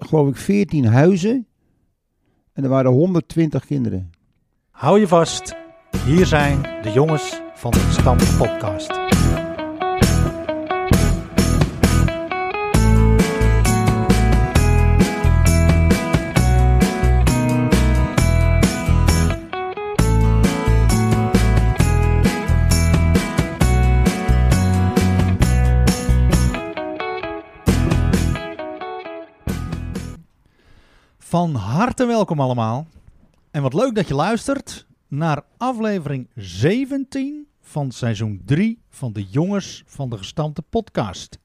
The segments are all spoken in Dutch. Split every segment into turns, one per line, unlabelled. geloof ik, 14 huizen. En er waren 120 kinderen.
Hou je vast, hier zijn de jongens van de Stam Podcast. Van harte welkom allemaal. En wat leuk dat je luistert naar aflevering 17 van seizoen 3 van de Jongens van de Gestampte podcast.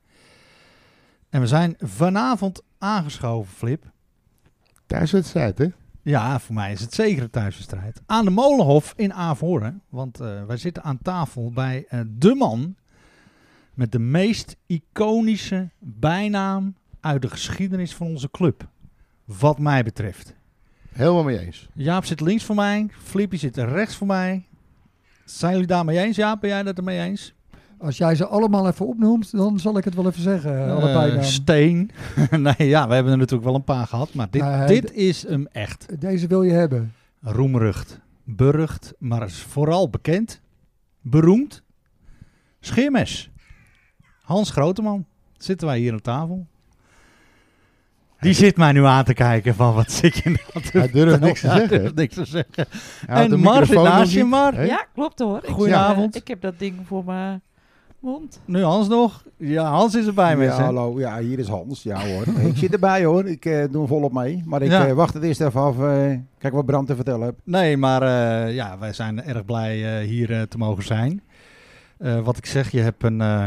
En we zijn vanavond aangeschoven, Flip.
Thuiswedstrijd, hè?
Ja, voor mij is het zeker een thuiswedstrijd. Aan de Molenhof in Averhoorn. Want eh, wij zitten aan tafel bij eh, de man met de meest iconische bijnaam uit de geschiedenis van onze club. Wat mij betreft.
Helemaal mee eens.
Jaap zit links van mij. Flippy zit rechts van mij. Zijn jullie daar mee eens? Jaap, ben jij dat ermee eens?
Als jij ze allemaal even opnoemt, dan zal ik het wel even zeggen.
Eh,
allebei dan.
Steen. nee, ja, we hebben er natuurlijk wel een paar gehad. Maar dit,
Nee,
dit is hem echt.
Deze wil je hebben.
Roemrucht. Burgt, maar is vooral bekend. Beroemd. Scheermes. Hans Groteman. Zitten wij hier aan tafel. Die zit mij nu aan te kijken van wat zit je nou te
Hij durft niks te
Ja, hij
zeggen.
durft niks te zeggen.
Hij had
en
de
Marvin
microfoon nog
naast je,
niet.
Mar.
Hè?
Ja, klopt hoor. Ik,
Goedenavond.
eh, ik heb dat ding voor mijn mond.
Nu Hans nog. Ja, Hans is erbij met
ja,
mensen.
hallo. Ja, hier is Hans. Ja hoor. ik zit erbij hoor. Ik eh, doe volop mee. Maar ik
Ja.
eh, wacht het eerst even af. eh, kijk wat Bram te vertellen heeft.
Nee, maar eh, ja, wij zijn erg blij eh, hier eh, te mogen zijn. Eh, wat ik zeg, je hebt een, eh,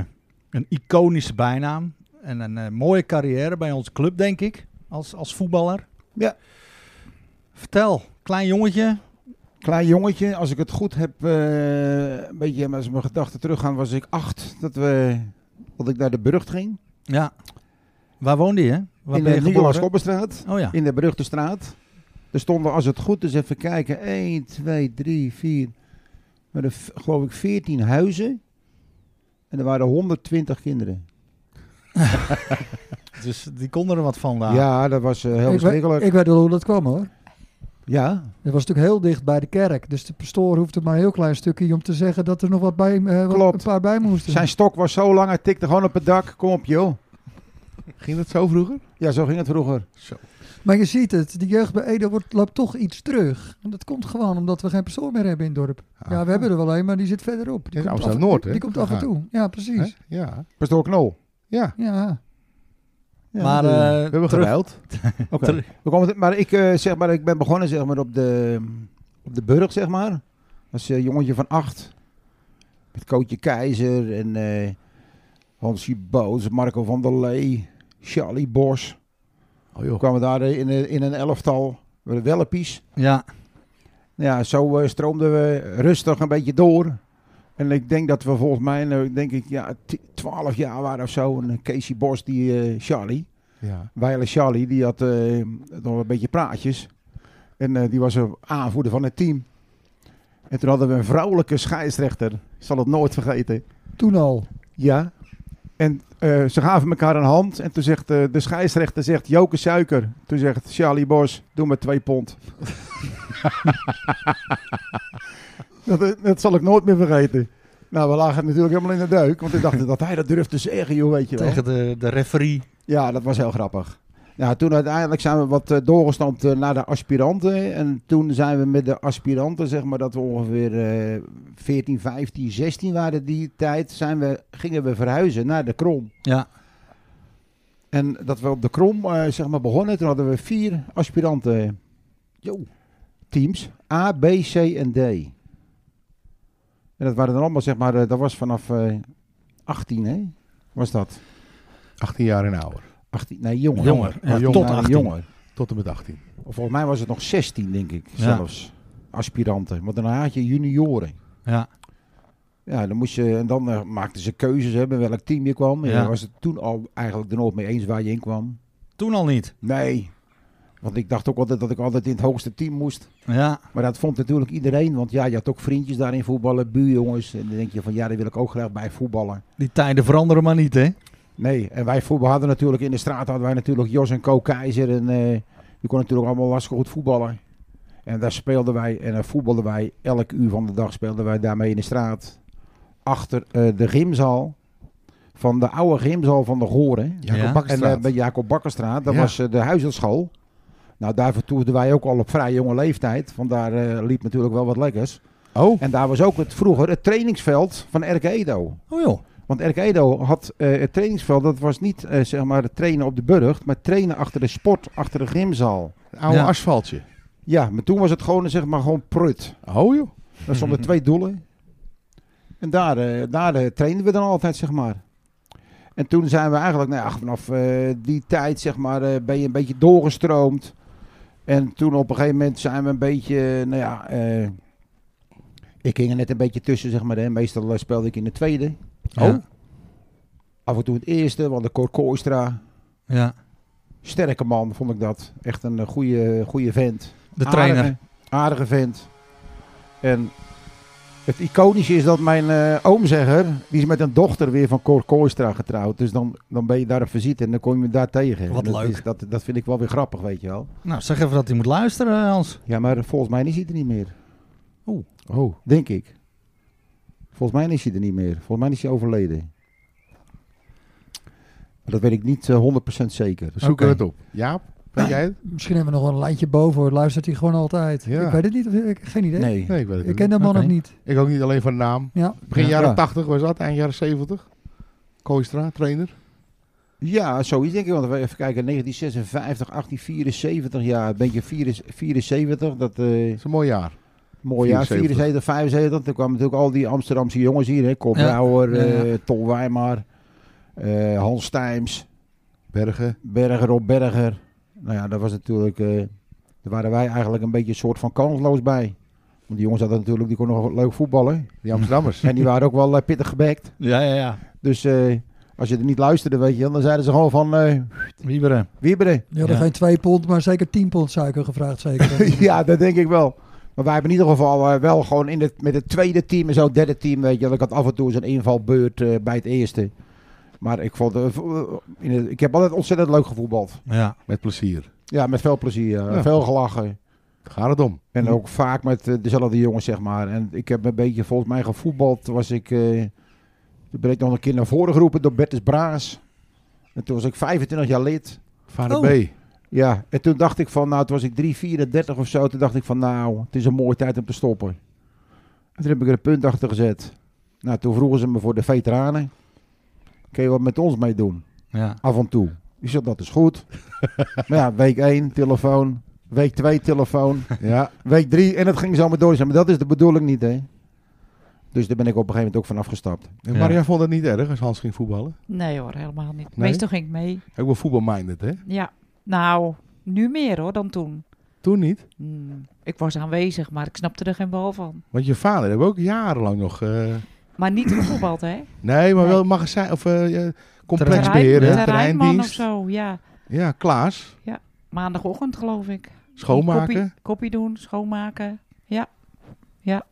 een iconische bijnaam. En een eh, mooie carrière bij onze club, denk ik. Als, als voetballer.
Ja.
Vertel, klein jongetje.
Klein jongetje, als ik het goed heb, eh, een beetje als mijn gedachten teruggaan, was ik acht dat, we, dat ik naar de Burgt ging.
Ja. Waar woonde je? Waar
in de
eh,
geboren?
Nicolaas Koppenstraat,
Oh ja.
in de Brugtestraat. Er stonden, als het goed is, even kijken, 1, 2, 3, 4, maar er, v- geloof ik 14 huizen. En er waren 120 kinderen.
Dus die konden er wat van daar.
Ja, dat was eh, heel
ik, weet,
verschrikkelijk.
ik weet wel hoe dat kwam hoor.
Ja,
Dat was natuurlijk heel dicht bij de kerk. Dus de pastoor hoefde maar een heel klein stukje om te zeggen dat er nog wat bij, eh, wat-
Klopt.
een paar bij moesten.
zijn stok was zo lang, hij tikte gewoon op het dak. Kom op joh.
Ging dat zo vroeger?
Ja, zo ging het vroeger.
Maar je ziet het, de jeugd bij Ede wordt, loopt toch iets terug. En dat komt gewoon omdat we geen pastoor meer hebben in het dorp. Ja, we hebben er wel een, maar die zit verderop. Die
In
komt af-
Amsterdam-Noord, hè?
Die komt af en
Ah.
Ja.
toe. Ja, precies.
Hè? Ja.
Pastoor Knol.
Ja.
Ja.
Ja,
maar
de-
eh,
We hebben
terug-
geruild.
Oké.
Ter-
We komen het- maar ik eh, zeg maar, ik ben begonnen zeg maar op de, op de Burg zeg maar. Als eh, jongetje van acht. Met Kootje Keizer en eh, Hansie Boos, Marco van der Lee, Charlie Bos.
Oh
We
joh.
kwamen daar eh, in, een- in een elftal. We hadden Wellepies.
Ja.
Nou Ja, zo eh, stroomden we rustig een beetje door. En ik denk dat we volgens mij, nou, denk ik, ja, t- 12 jaar waren of zo. En Casey Bos, die eh, Charlie.
Ja.
Weile Charlie, die had eh, nog een beetje praatjes. En eh, die was een aanvoerder van het team. En toen hadden we een vrouwelijke scheidsrechter. Ik zal het nooit vergeten.
Toen al.
Ja. En eh, ze gaven elkaar een hand. En toen zegt eh, de scheidsrechter, zegt Joke Suiker. Toen zegt Charlie Bos, doe maar twee pond. dat, eh, dat zal ik nooit meer vergeten. Nou, we lagen natuurlijk helemaal in de duik. Want ik dacht dat hij dat durfde te zeggen, joh, weet je wel.
Tegen de, de referee.
Ja, dat was heel grappig. Ja, toen uiteindelijk zijn we wat eh, doorgestampt eh, naar de aspiranten. En toen zijn we met de aspiranten, zeg maar, dat we ongeveer eh 14, 15, 16 waren die tijd, zijn we, gingen we verhuizen naar de Krom.
Ja.
En dat we op de Krom, eh, zeg maar, begonnen, toen hadden we vier aspiranten
Jo.
teams. A, B, C en D. En dat waren dan allemaal, zeg maar, eh, dat was vanaf eh 18, hè? Was dat?
18 jaar en ouder.
18, nee, jonger.
Jonger. Ja,
Oh,
tot
Nou,
18.
Jonger.
Tot en met 18.
Of Volgens mij was het nog 16, denk ik,
Ja.
zelfs. Aspiranten. Want daarna had je junioren.
Ja.
Ja, dan moest je, en dan eh, maakten ze keuzes, hè, bij welk team je kwam. En
Ja.
dan was het toen al eigenlijk er nooit mee eens waar je in kwam.
Toen al niet.
Nee. Want ik dacht ook altijd dat ik altijd in het hoogste team moest.
Ja.
Maar dat vond natuurlijk iedereen. Want ja, je had ook vriendjes daarin voetballen, buurjongens. En dan denk je van, ja, daar wil ik ook graag bij voetballen.
Die tijden veranderen maar niet, hè?
Nee, en wij voetbal hadden natuurlijk in de straat hadden wij natuurlijk Jos en Co Keizer en eh die kon natuurlijk allemaal lastig goed voetballen. En daar speelden wij en daar voetbalden wij elk uur van de dag speelden wij daarmee in de straat achter eh, de gymzaal van de oude gymzaal van de Goren.
Jacob
Ja.
En
Bakkerstraat.
eh, bij Jacob Bakkerstraat, dat
Ja.
was eh, de huisartschool. Nou, daar vertoefden wij ook al op vrij jonge leeftijd. Vandaar eh, liep natuurlijk wel wat lekkers.
oh,
En daar was ook het, vroeger het trainingsveld van E RK Edo.
Oh joh.
Want Erk Edo had eh, het trainingsveld, dat was niet eh, zeg maar het trainen op de burcht, maar trainen achter de sport, achter de gymzaal.
een oude
Ja.
asfaltje.
Ja, maar toen was het gewoon, zeg maar, gewoon prut.
Oh joh.
Er stonden twee doelen. En daar, eh, daar eh, trainden we dan altijd, zeg maar. En toen zijn we eigenlijk, nou ja, vanaf eh, die tijd, zeg maar, eh, ben je een beetje doorgestroomd. En toen op een gegeven moment zijn we een beetje, eh, nou ja, eh, ik ging er net een beetje tussen, zeg maar. Hè. Meestal eh, speelde ik in de tweede.
Ja.
Oh. Af en toe in het eerste, want de Cor Kooistra,
Ja.
sterke man, vond ik dat. Echt een eh, goede, goede vent.
De
Aardige-
trainer.
Aardige vent. En het iconische is dat mijn eh oomzegger, die is met een dochter weer van Cor Kooistra getrouwd. Dus dan, dan ben je daar op visite en dan kom je hem daar tegen.
Wat
En dat
leuk.
is- dat, dat vind ik wel weer grappig, weet je wel.
Nou, zeg even dat hij moet luisteren, eh, Hans.
Ja, maar volgens mij is hij er niet meer,
Oh,
denk ik. Volgens mij is hij er niet meer. Volgens mij is hij overleden. Maar dat weet ik niet eh, 100% zeker.
we zoeken
Oké.
het op. Jaap, weet jij het?
Misschien hebben we nog wel een lijntje boven, hoor. luistert hij gewoon altijd.
Ja.
Ik weet het niet, of- ik, geen idee.
Nee.
Nee, ik weet het
Ik
niet.
ken de man
Oké.
nog niet.
Ik ook niet alleen van de naam.
Ja.
Begin
Ja.
jaren
Ja.
80 was dat, eind jaren 70. Kooistra, trainer.
Ja, zoiets denk ik. Want we even kijken, 1956, 1874 jaar, een beetje 74, dat eh
Dat is een mooi jaar.
mooi jaar,
74.
74, 75. Toen kwamen natuurlijk al die Amsterdamse jongens hier, hè. Cor
Ja.
Brouwer,
Ja, ja.
eh, Tol Wijmar, eh, Hans Stijms,
Bergen.
Berger op Berger. Nou ja, dat was natuurlijk, eh, daar waren wij eigenlijk een beetje een soort van kansloos bij. Want die jongens hadden natuurlijk, die konden nog leuk voetballen.
Die Amsterdammers.
En die waren ook wel eh, pittig gebekt.
Ja, ja, ja.
Dus eh, als je er niet luisterde, weet je, wel, dan zeiden ze gewoon van, eh
Wieberen.
wieberen.
Die hadden
Ja.
geen 2 pond, maar zeker 10 pond suiker gevraagd. Zeker.
ja, dat denk ik wel. Maar wij hebben in ieder geval eh, wel gewoon in het, met het tweede team en zo, het derde team, weet je wel. Ik had af en toe eens een invalbeurt eh, bij het eerste. Maar ik, vond, eh, v- eh, in het- ik heb altijd ontzettend leuk gevoetbald.
Ja.
Met plezier.
Ja, met veel plezier. ja.
Ja.
Veel gelachen.
Daar gaat het om.
En ook vaak met eh, dezelfde jongens, zeg maar. En ik heb een beetje, volgens mij, gevoetbald. Toen was ik, eh, toen ben ik nog een keer naar voren geroepen door Bertus Braas. En toen was ik 25 jaar lid.
Vader
Oh.
B.
Ja, en toen dacht ik van, nou, toen was ik 3, 34 of zo. Toen dacht ik van, nou, het is een mooie tijd om te stoppen. En toen heb ik er een punt achter gezet. Nou, toen vroegen ze me voor de veteranen. Kun je wat met ons mee doen?
Ja.
Af en toe. Ik zeg, dat is goed. maar ja, week 1, telefoon. Week 2, telefoon.
Ja,
Week 3, en dat ging zo maar door. Ik zeg, Maar dat is de bedoeling niet, hè. Dus daar ben ik op een gegeven moment ook van afgestapt.
en
Ja.
Maria vond het niet erg als Hans ging voetballen.
Nee hoor, helemaal niet.
Nee?
Meestal ging ik mee.
Ook wel voetbalminded, hè?
Ja, nou, nu meer hoor dan toen.
Toen niet.
Hmm, Ik was aanwezig, maar ik snapte er geen bal van.
Want je vader hebben ook jarenlang nog... eh,
Maar niet gevoetbald, hè?
Nee, maar
Nee.
wel magazijn of eh, eh, complex
Terrein-
beheren,
terreinman
terreinman of
terreindienst.
zo, ja.
Ja, Klaas,
Maandagochtend geloof ik.
schoonmaken.
Koppie, koppie doen, schoonmaken. Ja, ja.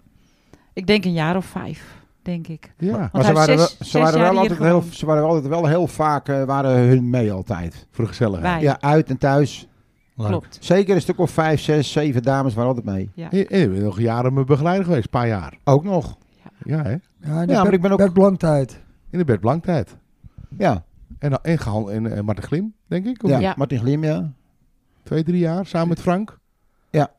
Ik denk een jaar of vijf, denk ik.
Ja,
Want
ze
hij
waren, wel-
heeft zes-
ze,
zes
waren
jaar
wel
hier
altijd heel,
gewoond.
ze waren wel altijd wel heel vaak, eh, waren hun mee altijd.
voor de gezelligheid.
Wij,
Ja, uit en thuis.
Leuk.
klopt.
Zeker een stuk of vijf, zes, zeven dames waren altijd mee.
En en je bent nog jaren mijn begeleider geweest, een paar jaar.
Ook nog.
Ja,
Ja,
hè?
en
Ja, maar
ik ben ook... Bert Blank-tijd.
In de Bert Blank tijd.
Ja,
En, en, Gehan- en, eh, Marten Glim, denk ik. of
ja.
niet?
Ja.
Martin Glim, ja.
Twee, drie jaar, samen met Frank.
Ja.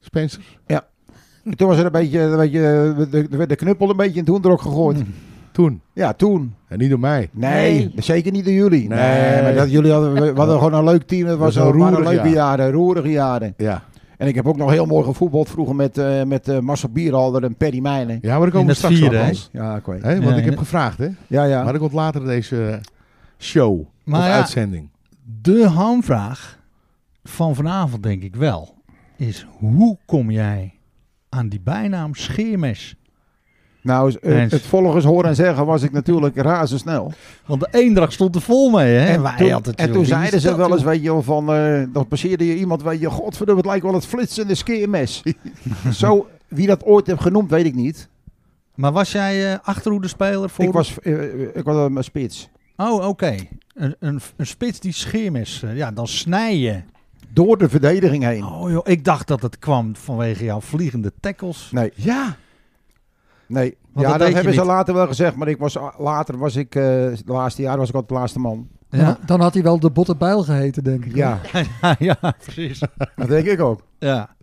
Spencer.
En Toen was er een beetje, een beetje eh, de, de, de knuppel een beetje in het hoendrok gegooid.
Toen.
Ja, toen.
En niet door mij.
Mm. Nee,
Nee.
zeker niet door jullie.
Nee.
Nee, maar dat, jullie hadden, we hadden gewoon een leuk team. Het was
was
een
een
waren
roerig
leuke
jaar.
jaren, roerige jaren.
Ja.
En ik heb ook nog heel mooi gevoetbald vroeger met, eh met eh, Marcel Bierhalder en Perry Meijnen.
Ja, maar daar
In
komen we
het
straks
vieren,
op,
hè?
Hans.
Ja, ik weet.
Hè, want
Ja,
ik
in
heb
het-
gevraagd, hè?
Ja, ja.
Maar er komt later deze eh, show
Maar
of
ja.
uitzending.
De hamvraag van vanavond denk ik wel is hoe kom jij aan die bijnaam Scheermes?
Nou, eh,
Eens.
het volgens horen en zeggen was ik natuurlijk razendsnel.
Want de eendracht stond er vol mee, hè?
En,
Wij
toen,
hadden het,
en
joh,
toen
wie is
zeiden ze
dat,
wel eens,
joh?
weet je wel, van... eh, dan passeerde je iemand, weet je, godverdomme, het lijkt wel het flitsende skeermes. Zo, wie dat ooit heeft genoemd, weet ik niet.
Maar was jij eh achterhoede speler voor?
Ik was, eh, eh, ik was een spits.
Oh, oké. Een, een, een spits die scheermes. eh, ja, dan snij je.
Door de verdediging heen.
Oh joh, ik dacht dat het kwam vanwege jouw vliegende tackles.
Nee.
Ja.
Nee,
dat
ja,
deed
dat
je
hebben ze
niet.
later wel gezegd, maar ik was, later was ik, eh het laatste jaar was ik altijd de laatste man.
Ja,
Dan, dan had hij wel de botte bijl geheten, denk ik.
Ja,
ja, ja precies.
dat denk ik ook.
Ja.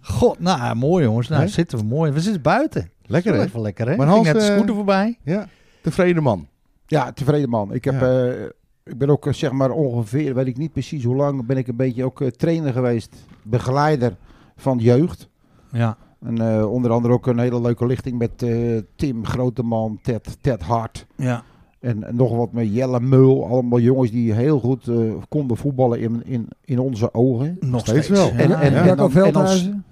God, nou mooi jongens. Nou
Hè?
zitten we mooi. We zitten buiten.
Lekker
Dat
hè?
is wel lekker hè.
Maar
Maar Ging
Hans,
net de
eh,
scooter voorbij.
Ja. Tevreden man.
Ja, tevreden man. Ik, heb,
Ja.
eh, ik ben ook eh, zeg maar ongeveer, weet ik niet precies hoe lang, ben ik een beetje ook eh, trainer geweest, begeleider van jeugd.
Ja.
En eh, onder andere ook een hele leuke lichting met eh, Tim Groteman, Ted, Ted Hart
Ja.
en, en nog wat met Jelle Meul. Allemaal jongens die heel goed eh, konden voetballen in, in, in onze ogen.
Nog
steeds
steeds,
wel.
ja.
En- en-
ja.
en-
Jacob
dan- dan-
Veldhuizen.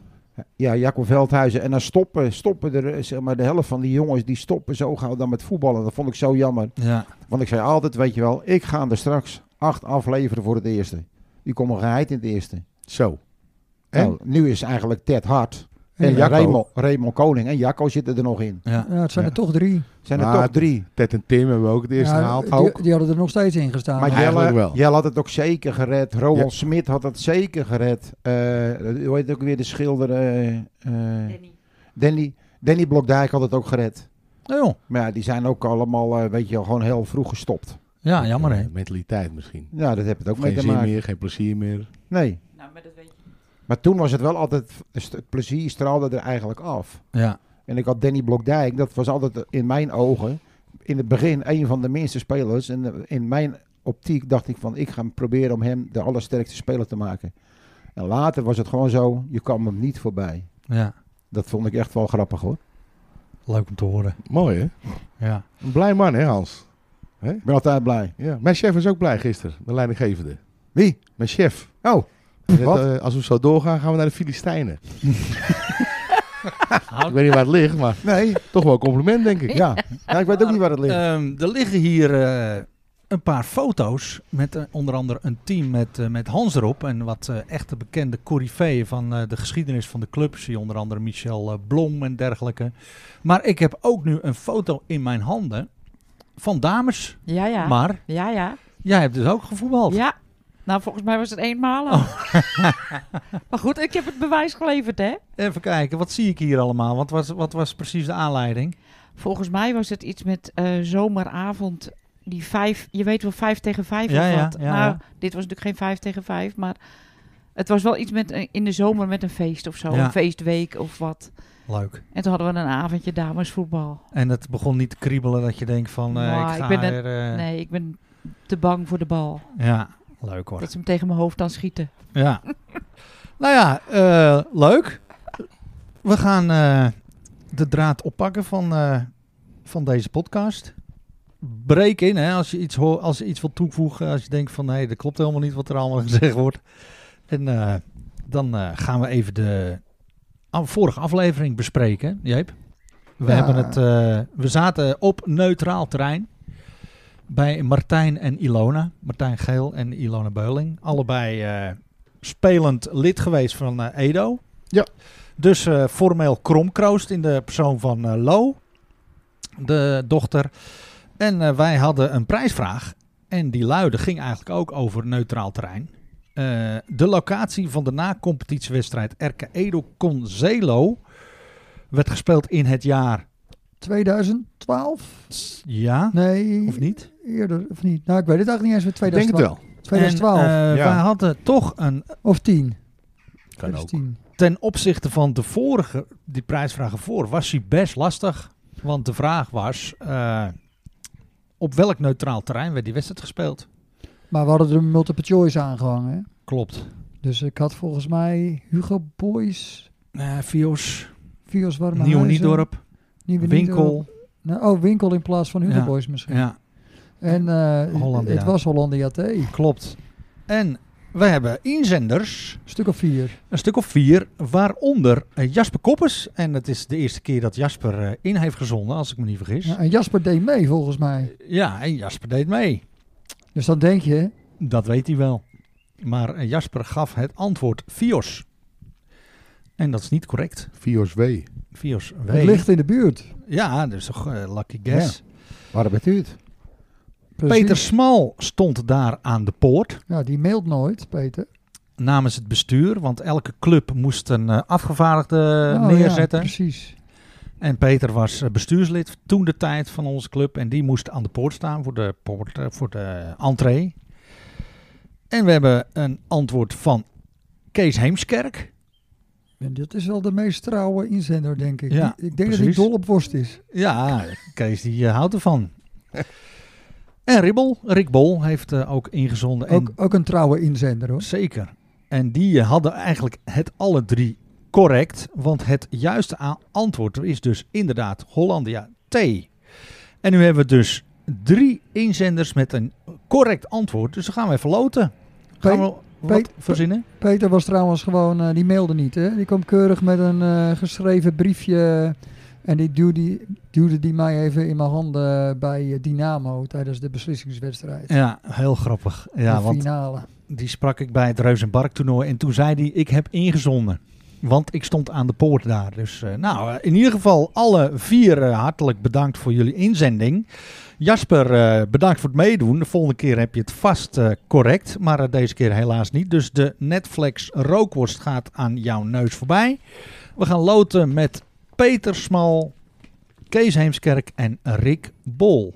Ja, Jacob Veldhuizen. En dan stoppen, stoppen er, eh, zeg maar, de helft van die jongens, die stoppen zo gauw dan met voetballen. Dat vond ik zo jammer.
Ja.
Want ik zei altijd, weet je wel, ik ga er straks acht afleveren voor het eerste. Die komen geheid in het eerste.
Zo. En?
Nou, nu is eigenlijk Ted Hart en
Jacco.
Raymond, Raymond Koning en Jacco zitten er nog in.
Ja.
Ja, het zijn er toch drie.
Zijn er
Maar
toch drie.
Ted en Tim hebben we ook het eerst
Ja,
gehaald.
die, die hadden er nog steeds in gestaan.
Maar
Eigenlijk
Jelle,
wel.
Jelle had het ook zeker gered. Roland
Ja.
Smit had het zeker gered. Eh, hoe heet het ook weer de schilder? eh, eh, Danny, Danny Blokdijk had het ook gered.
Oh, joh.
Maar ja, die zijn ook allemaal, eh, weet je wel, gewoon heel vroeg gestopt.
ja, Ah, jammer hè.
Eh, Mentaliteit misschien.
Ja, dat heb het ook mee
Geen
te
zin
maken.
meer, geen plezier meer.
Nee.
Nou, maar dat weet je.
Maar toen was het wel altijd, het plezier straalde er eigenlijk af.
Ja.
En ik had Danny Blokdijk, dat was altijd in mijn ogen in het begin een van de minste spelers. En eh, in mijn optiek dacht ik van, ik ga proberen om hem de allersterkste speler te maken. En later was het gewoon zo, je kwam hem niet voorbij.
Ja.
Dat vond ik echt wel grappig hoor.
Leuk om te horen.
Mooi hè?
Ja.
Een blij man hè Hans?
Ik ben altijd blij.
Ja. Mijn chef was ook blij gisteren, de leidinggevende.
Wie?
Mijn chef.
Oh,
Hij zegt,
wat?
eh, als we zo doorgaan, gaan we naar de Filistijnen.
Houd-
ik weet niet waar het ligt, maar
nee.
toch wel een compliment denk ik.
Ja. ja, ik weet ook niet waar het ligt.
Ehm, er liggen hier eh, een paar foto's met eh, onder andere een team met, eh, met Hans erop. En wat eh, echte bekende coryfeeën van eh, de geschiedenis van de club. Zie onder andere Michel eh, Blom en dergelijke. Maar ik heb ook nu een foto in mijn handen van dames.
Ja, ja.
Maar
Ja, ja.
jij hebt dus ook gevoetbald.
Ja. Nou, volgens mij was het eenmalig.
Oh.
maar goed, ik heb het bewijs geleverd, hè?
Even kijken, wat zie ik hier allemaal? Wat was, wat was precies de aanleiding?
Volgens mij was het iets met eh, zomeravond. Die vijf, je weet wel, vijf tegen vijf
Ja,
of
ja,
wat.
ja,
nou,
ja.
dit was natuurlijk geen vijf tegen vijf, maar het was wel iets met een- in de zomer met een feest of zo.
Ja.
Een feestweek of wat.
Leuk.
En toen hadden we een avondje damesvoetbal.
En het begon niet te kriebelen dat je denkt van eh,
Nou,
ik ga
ik ben net-
er... eh,
Nee, ik ben te bang voor de bal.
Ja, leuk hoor.
Dat ze hem tegen mijn hoofd dan schieten.
Ja. nou ja, eh, leuk. We gaan eh, de draad oppakken van, eh, van deze podcast. Breek in hè, als je iets, hoor, als je iets wilt toevoegen. Als je denkt van nee, dat klopt helemaal niet wat er allemaal gezegd wordt. En eh, dan eh, gaan we even de af- vorige aflevering bespreken, Jeep. We,
Ja.
hebben het, eh, we zaten op neutraal terrein bij Martijn en Ilona. Martijn Geel en Ilona Beuling. Allebei eh, spelend lid geweest van eh, Edo.
Ja.
Dus eh, formeel kromkroost in de persoon van eh, Lo, de dochter. En eh, wij hadden een prijsvraag. En die luidde ging eigenlijk ook over neutraal terrein. Eh, de locatie van de na-competitiewedstrijd RK Edo Conzelo werd gespeeld in het jaar.
2012?
Ja,
Nee.
of niet?
Eerder, of niet? Nou, ik weet het eigenlijk niet eens. met
Ik denk het
2012.
wel.
2012
En, eh,
Ja.
Wij hadden toch een
of 10.
Kan ook.
10.
ten opzichte van de vorige, die prijsvragen voor, was hij best lastig. Want de vraag was, eh, op welk neutraal terrein werd die wedstrijd gespeeld?
Maar we hadden er een multiple choice aangehangen. Hè?
Klopt.
Dus ik had volgens mij Hugo Boys,
Eh Vios,
Vios Warme
Nieuw
Huizen,
Niedorp,
Nieuwe Niedorp.
Winkel.
Nou, oh, Winkel in plaats van Hugo
Ja.
Boys misschien.
Ja,
En eh,
Hollandia.
het was Hollandia T. Een
klopt. En we hebben inzenders,
stuk of vier.
een stuk of vier, waaronder eh, Jasper Koppers. En het is de eerste keer dat Jasper eh, in heeft gezonden, als ik me niet vergis.
Ja,
Ja,
en Jasper deed mee volgens mij.
en Jasper deed mee.
Dus dan denk je,
Dat weet hij wel. Maar eh, Jasper gaf het antwoord Fios. En dat is niet correct.
Vios W.
Fios W.
het ligt in de buurt.
Ja, dus toch eh, lucky guess.
Waar bent u het?
Precies.
Peter Smal stond daar aan de poort
Ja, die mailt nooit, Peter.
namens het bestuur. Want elke club moest een eh, afgevaardigde
Oh, ja,
Eh, neerzetten.
precies.
En Peter was eh, bestuurslid toen de tijd van onze club. En die moest aan de poort staan voor de, poort, eh, voor de entree. En we hebben een antwoord van Kees Heemskerk.
En dat is wel de meest trouwe inzender, denk ik.
Ja,
Die- ik denk dat
precies.
hij dol op worst is.
Ja, Kees die eh, houdt ervan. En Ribbel, Rick Bol, heeft eh, ook ingezonden. En
Ook, ook een trouwe inzender, hoor.
Zeker. En die eh, hadden eigenlijk het alle drie correct. Want het juiste a- antwoord is dus inderdaad Hollandia T. En nu hebben we dus drie inzenders met een correct antwoord. Dus dan gaan we even loten. Gaan we wat
Pe-
verzinnen?
Peter was trouwens gewoon, eh, die mailde niet. Hè? Die kwam keurig met een eh, geschreven briefje. En die duwde, duwde die mij even in mijn handen bij eh, Dynamo tijdens de beslissingswedstrijd.
Ja, heel grappig. Ja,
de
want
finale.
die sprak ik bij het Reuzenbark toernooi. En toen zei hij, ik heb ingezonden. Want ik stond aan de poort daar. Dus eh, nou, eh, in ieder geval alle vier eh, hartelijk bedankt voor jullie inzending. Jasper, eh, bedankt voor het meedoen. De volgende keer heb je het vast eh, correct. Maar eh, deze keer helaas niet. Dus de Netflix rookworst gaat aan jouw neus voorbij. We gaan loten met Peter Smal, Kees Heemskerk en Rick Bol.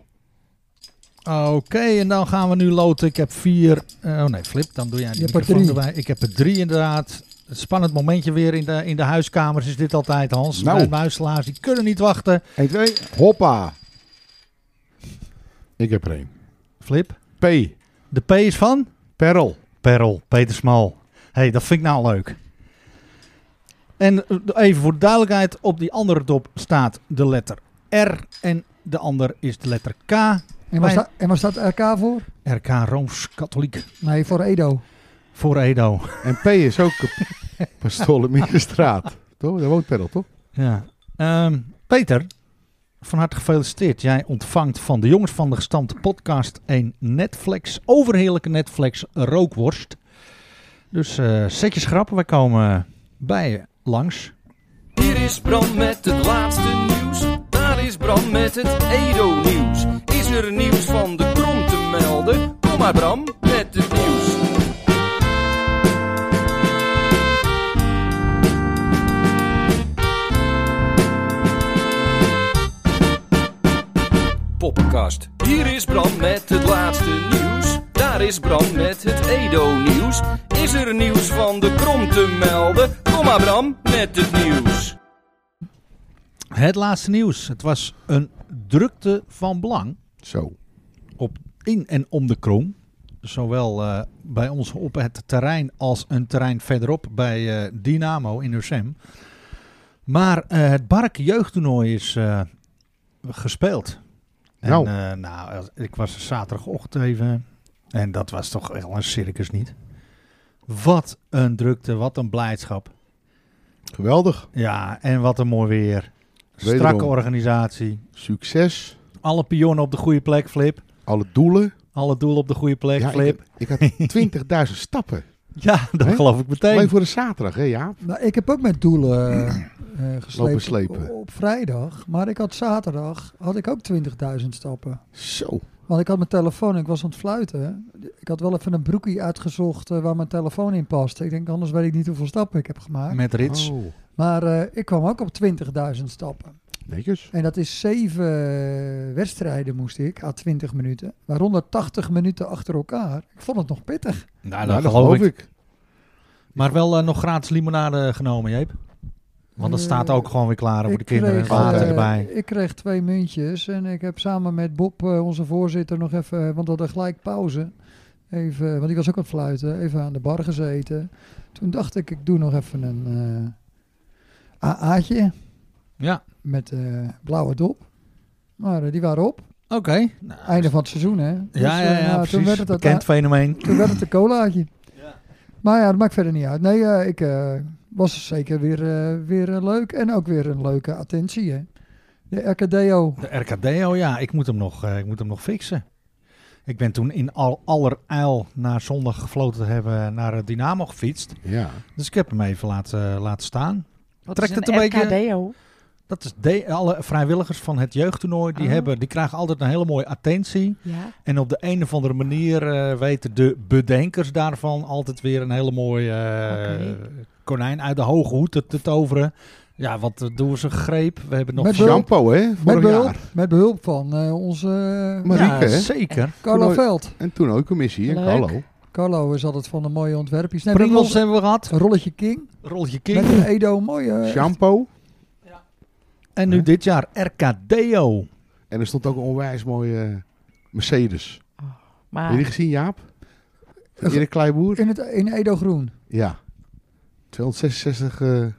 Oké, en dan gaan we nu loten. Ik heb vier. eh, oh nee, Flip, dan doe jij die
Je hebt er
microfoon
drie.
erbij. Ik heb er drie inderdaad. Een Spannend momentje weer in de, in de huiskamers is dit altijd, Hans.
Nou.
Mijn muiselaars, die kunnen niet wachten.
1, 2, hoppa.
Ik heb er één.
Flip,
P.
de P is van?
Perl.
Perel, Peter Smal. Hé, hey, dat vind ik nou leuk. En eh, even voor de duidelijkheid, op die andere dop staat de letter R en de ander is de letter K.
En waar,
Mijn-
sta- en waar staat RK voor?
RK Rooms-Katholiek
Nee, voor Edo.
voor Edo.
En P is ook Pastolemierenstraat. Toch? Daar woont Perl, toch?
Ja. Ehm, Peter, van harte gefeliciteerd. Jij ontvangt van de jongens van de gestampte podcast een Netflix, overheerlijke Netflix rookworst. Dus eh zet je schrappen, wij komen bij je langs.
Hier is Bram met het laatste nieuws. Daar is Bram met het Edo-nieuws. Is er nieuws van de krom te melden? Kom maar Bram met het nieuws. Poppenkast. Hier is Bram met het laatste nieuws. Daar is Bram met het Edo-nieuws. Is er nieuws van de krom te melden? Kom maar Bram met het nieuws.
Het laatste nieuws. Het was een drukte van belang
Zo.
in en om de krom. Zowel eh, bij ons op het terrein als een terrein verderop bij eh, Dynamo in Ursem. Maar eh, het Bark jeugdtoernooi is eh, gespeeld. En,
Nou.
eh, nou, als- ik was er zaterdagochtend even. En dat was toch wel een circus niet. Wat een drukte, wat een blijdschap.
Geweldig.
Ja, en wat een mooi weer.
Wederom.
Strakke organisatie.
Succes.
Alle pionnen op de goede plek, Flip.
Alle doelen.
Alle doelen op de goede plek,
Ja,
Flip.
ik, ik had 20.000 stappen.
Ja, dat
Hè?
geloof ik
Alleen
meteen.
voor de zaterdag, hè Jaap?
Nou, ik heb ook met doelen eh, eh,
Lopen
geslepen op,
slepen.
op vrijdag. Maar ik had zaterdag had ik ook 20.000 stappen.
Zo.
Want ik had mijn telefoon en ik was aan het fluiten. Ik had wel even een broekie uitgezocht eh, waar mijn telefoon in past. Ik denk, anders weet ik niet hoeveel stappen ik heb gemaakt.
Met rits.
Oh.
Maar eh, ik kwam ook op 20.000 stappen.
Netjes.
En dat is zeven wedstrijden moest ik, à 20 minuten. Waaronder 80 minuten achter elkaar. Ik vond het nog pittig.
Nou,
Nou, dat geloof ik.
Maar wel eh, nog gratis limonade genomen, Jeep. Want dat
Eh,
staat ook gewoon weer klaar voor de kinderen.
kreeg,
Water
eh,
erbij.
Ik kreeg twee muntjes en ik heb samen met Bob, eh, onze voorzitter, nog even, eh, want we hadden gelijk pauze. Even, eh, want die was ook aan het fluiten, even aan de bar gezeten. Toen dacht ik, ik doe nog even een eh AA'tje
Ja,
met eh, blauwe dop. Maar eh, die waren op.
oké. Nou,
Einde van het seizoen, hè? Dus,
ja, ja,
eh,
ja,
nou,
precies.
Toen werd het,
Bekend fenomeen.
toen werd het een colaatje. Maar ja, dat maakt verder niet uit. Nee, eh, ik eh, was zeker weer, eh, weer eh, leuk. En ook weer een leuke attentie, hè. De RKDO.
De RKDO, ja, ik moet hem nog, eh, ik moet hem nog fixen. Ik ben toen in al, allerijl na zondag gefloten te hebben naar eh, Dynamo gefietst.
Ja.
Dus ik heb hem even laten, laten staan.
Wat
Trekt
is
het een beetje-
RKDO?
Dat is de, alle vrijwilligers van het jeugdtoernooi. Die,
Ah.
Oh.
hebben, die krijgen altijd een hele mooie attentie.
Ja.
En op de een of andere manier eh, weten de bedenkers daarvan altijd weer een hele mooie eh, konijn uit de hoge hoed te, te toveren. Ja, wat eh, doen ze greep? We hebben nog
Met behulp-
Shampoo, hè?
Met
Vorig
behulp,
jaar.
met behulp van eh, onze eh,
Maar- Marieke,
ja,
hè?
zeker.
Carlo
Toernooi-
Veld.
En toen ook commissie. En
Leuk.
Carlo.
Carlo is altijd van de mooie ontwerpjes. Nee,
Pringles
we hebben
hebben we gehad.
nog Rolletje King.
Rolletje King.
Met een Edo, mooie. eh,
Shampoo.
En nu
Ja.
dit jaar RKDO.
En er stond ook een onwijs mooie eh, Mercedes. Heb je die
Maar
gezien, Jaap? Van Erik Kleiboer?
in, het, in Edo Groen.
Ja. 266 eh, en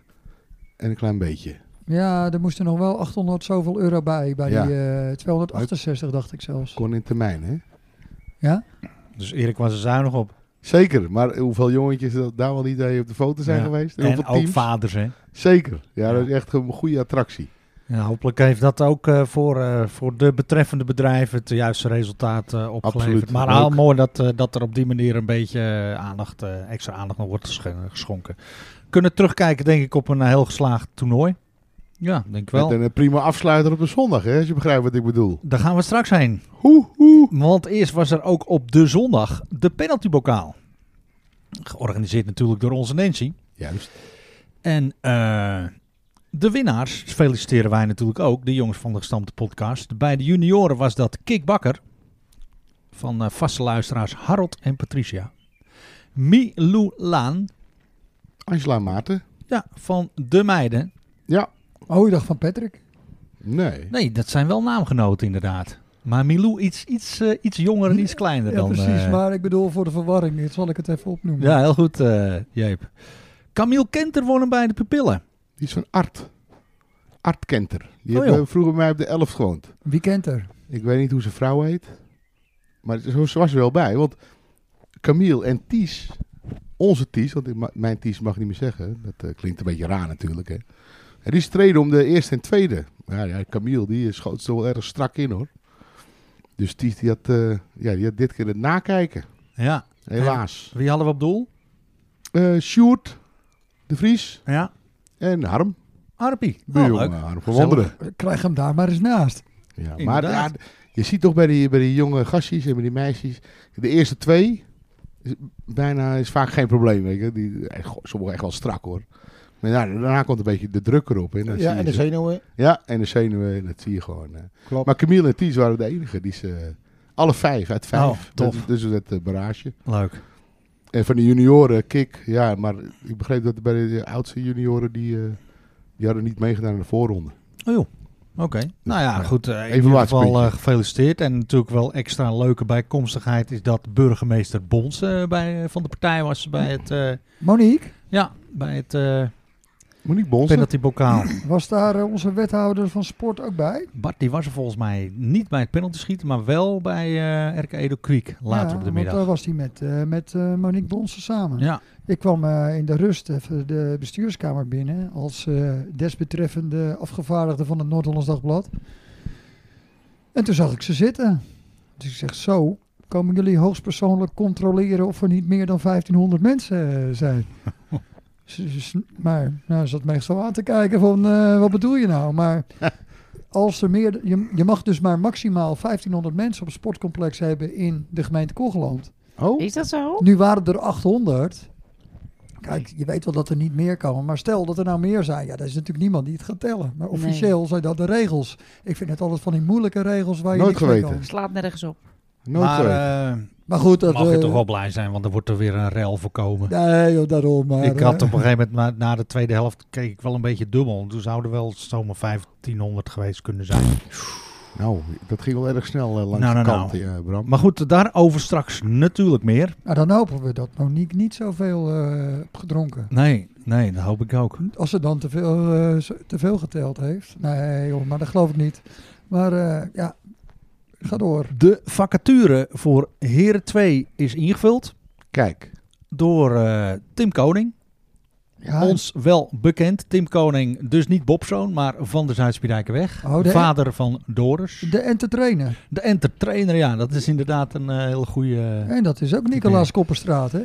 een klein beetje.
Ja, er moesten nog wel 800 zoveel euro bij. Bij
Ja.
die eh, 268 dacht ik zelfs.
Kon in termijn, hè?
Ja?
Dus Erik was er zuinig op.
Zeker, maar hoeveel jongetjes dat daar wel niet bij op de foto zijn
Ja.
geweest. En,
En
hoeveel
ook
teams.
vaders, hè.
Zeker, ja,
Ja.
dat is echt een goede attractie.
Ja, hopelijk heeft dat ook eh, voor, eh, voor de betreffende bedrijven het juiste resultaat eh, opgeleverd.
Absoluut,
maar
leuk.
al mooi dat, eh, dat er op die manier een beetje eh, aandacht, eh, extra aandacht nog wordt geschen- geschonken. Kunnen terugkijken, denk ik, op een eh, heel geslaagd toernooi. Ja, denk ik wel.
Met een eh, prima afsluiter op een zondag, hè, als je begrijpt wat ik bedoel.
Daar gaan we straks heen. Want eerst was er ook op de zondag de penaltybokaal. Georganiseerd natuurlijk door onze Nancy.
Juist.
En eh, de winnaars feliciteren wij natuurlijk ook, de jongens van de gestampte podcast. Bij de junioren was dat Kik Bakker van eh, vaste luisteraars Harold en Patricia. Mi Lou Laan,
Angela Maarten?
ja, van de meiden.
Ja.
Oh, je dacht van Patrick.
Nee.
Nee, dat zijn wel naamgenoten inderdaad. Maar Milou iets, iets, eh, iets jonger en iets kleiner
Ja,
dan...
precies.
eh,
Maar ik bedoel, voor de verwarring dit zal ik het even opnoemen.
Ja, heel goed, eh Jeep. Camille Kenter won hem bij de pupillen.
Die is van Art. Art Kenter. Die
Oh,
heeft,
joh.
eh, vroeger bij mij op de 11 gewoond.
Wie kent er?
Ik weet niet hoe zijn vrouw heet. Maar zo- ze was er wel bij. Want Camille en Ties, onze Ties, want ik ma- mijn Ties mag ik niet meer zeggen. Dat eh, klinkt een beetje raar natuurlijk. Hè. En die streden om de eerste en tweede. Ja, ja, Camille die eh, schoot ze wel erg strak in hoor. Dus Ties die had, eh, ja, die had dit keer het nakijken.
Ja,
Helaas.
wie hadden we op doel?
Eh Sjoerd, De Vries
Ja,
en Harm.
Arpie.
De
Oh,
jonge
leuk.
Harm van Wanderen.
Krijg hem daar maar eens naast.
Ja, maar
Inderdaad.
ja, je ziet toch bij die, bij die jonge gastjes en bij die meisjes, de eerste twee is, bijna is vaak geen probleem. Weet je. Die, echt, goh, sommigen echt wel strak hoor. Maar ja, daarna komt een beetje de druk erop. Hè. Dan zie
Ja,
je
en de
ze-
zenuwen.
ja, en de zenuwen, en dat zie je gewoon. hè.
Klopt.
Maar Camille en Ties waren de enige. Die ze, alle vijf uit vijf.
Oh, tof.
Dat- dus dat eh, barrage.
Leuk.
En van de junioren, Kik, ja, maar ik begreep dat bij de oudste junioren, die, eh, die hadden niet meegedaan in de voorronde.
Oh joh. Oké. Nou ja,
ja.
goed. eh, in ieder
Evaluatiepuntje.
geval eh, gefeliciteerd. En natuurlijk wel extra leuke bijkomstigheid is dat burgemeester Bons eh, bij, van de partij was bij het, eh,
Monique,
ja, bij het eh
Monique Bonsen.
penaltybokaal.
was daar eh, onze wethouder van sport ook bij?
Bart die was er volgens mij niet bij het penalty schieten, maar wel bij eh RK Edo Kwiek later
Ja,
op de
Want
middag.
daar was hij met, eh, met eh, Monique Bonsen samen.
Ja,
Ik kwam eh, in de rust even de bestuurskamer binnen als eh, desbetreffende afgevaardigde van het Noord-Hollands Dagblad. En toen zag ik ze zitten. Dus ik zeg, zo, komen jullie hoogstpersoonlijk controleren of er niet meer dan 1500 mensen eh, zijn? Ze- ze sn- maar nou, ze zat me echt zo aan te kijken van, eh, wat bedoel je nou? Maar als er meer, je, je mag dus maar maximaal 1500 mensen op een sportcomplex hebben in de gemeente Kogeland.
Oh,
is dat zo?
Nu waren er 800. Kijk, je weet wel dat er niet meer komen. Maar stel dat er nou meer zijn. Ja, dat is natuurlijk niemand die het gaat tellen. Maar officieel zijn dat de regels. Ik vind het altijd van die moeilijke regels waar je
Nooit
niks mee
geweten.
kan.
Slaat nergens op.
Oh
nooit
maar
geweten.
eh,
Maar goed, dat...
mag je
eh,
toch wel blij zijn, want er wordt er weer een rel voorkomen.
Nee, joh, daarom. Maar,
ik had
eh,
op een gegeven moment, maar na de tweede helft, keek ik wel een beetje dubbel. Toen zouden wel zomaar 1500 geweest kunnen zijn.
Nou, dat ging wel erg snel eh, langs
Nou,
de
nou,
kant, ja, Bram.
Maar goed, daarover straks natuurlijk meer.
nou, dan hopen we dat Monique niet zoveel eh heeft gedronken.
Nee, nee, dat hoop ik ook.
Als ze dan te veel, eh, ze- te veel geteld heeft. Nee, joh, maar dat geloof ik niet. Maar eh, ja, ga door.
De vacature voor Heren 2 is ingevuld
Kijk,
door eh, Tim Koning.
Ja,
Ons wel bekend. Tim Koning, dus niet Bobzoon, maar van de Zuid-Spiedijkenweg.
Oh, de-
Vader van Doris.
De en te trainen.
De entertrainer, ja, dat is inderdaad een eh, hele goede. eh,
En dat is ook Nicolaas Kopperstraat, hè?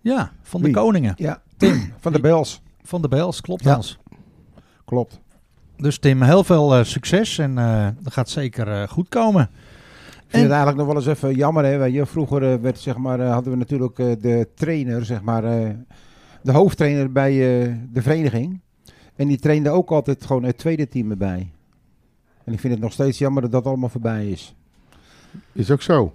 ja, van de
Wie?
Koningen.
Ja.
Tim
Van de Bels.
van de Bels, klopt
Ja.
ons.
Klopt.
Dus Tim, heel veel eh, succes en eh, dat gaat zeker eh, goed komen.
Ik vind
En-
het eigenlijk nog wel eens even jammer. Hè? Weet je, vroeger eh, werd, zeg maar, eh, hadden we natuurlijk eh, de trainer, zeg maar, eh, de hoofdtrainer bij eh, de vereniging. En die trainde ook altijd gewoon het tweede team erbij. En ik vind het nog steeds jammer dat dat allemaal voorbij is.
Is ook zo.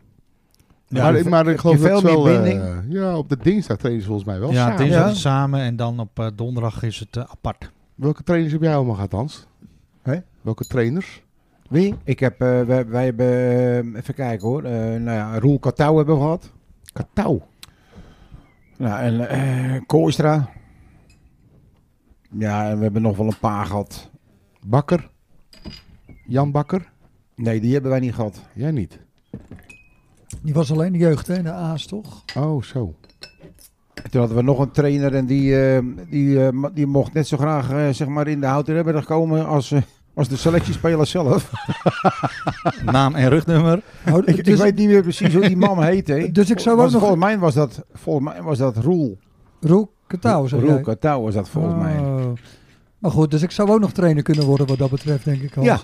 Ja,
maar,
heb-
maar
heb
ik
je
geloof
veel
dat wel...
meer
eh,
binding?
ja, op de dinsdag trainen ze volgens mij wel
ja,
samen.
het is
Ja.
altijd samen en dan op eh, donderdag is het eh, apart.
Welke trainers heb jij allemaal gehad, Hans?
Hè?
Welke trainers?
Wie? Ik heb, eh, wij, wij hebben, eh, even kijken hoor, Eh, nou ja, Roel Katouw hebben we gehad.
Katau.
Nou, en eh Kooistra. Ja, en we hebben nog wel een paar gehad.
Bakker. Jan Bakker.
Nee, die hebben wij niet gehad.
Jij niet.
Die was alleen de jeugd, hè? De A's, toch?
Oh, zo.
Toen hadden we nog een trainer en die, eh, die, eh, ma- die mocht net zo graag eh, zeg maar in de houten hebben komen als, eh, als de selectiespeler zelf.
Naam en rugnummer.
Nou,
ik, ik
dus,
weet niet meer precies hoe die man heette.
Dus ik zou
Was-
ook nog-
Volgens mij was dat, volgens mij was dat Roel.
Roel Katouw, zeg
Roel
jij?
Katouw was dat volgens mij.
Oh. Maar goed, dus ik zou ook nog trainer kunnen worden wat dat betreft, denk ik. Hans.
Ja.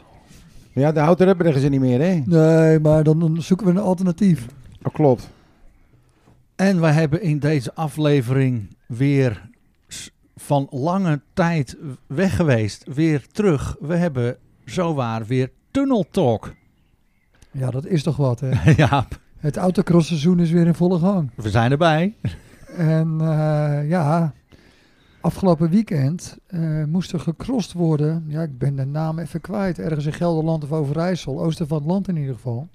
Ja, de houten hebben ze niet meer, hè?
Nee, maar dan- dan zoeken we een alternatief.
Dat klopt.
En wij hebben in deze aflevering weer s- van lange tijd weg geweest. Weer terug. We hebben zowaar weer Tunnel Talk.
Ja, dat is toch wat, hè?
ja,
Het autocrossseizoen is weer in volle gang.
we zijn erbij.
En eh, ja, afgelopen weekend eh, moest er gecrossed worden. Ja, ik ben de naam even kwijt. Ergens in Gelderland of Overijssel, oosten van het land in ieder geval.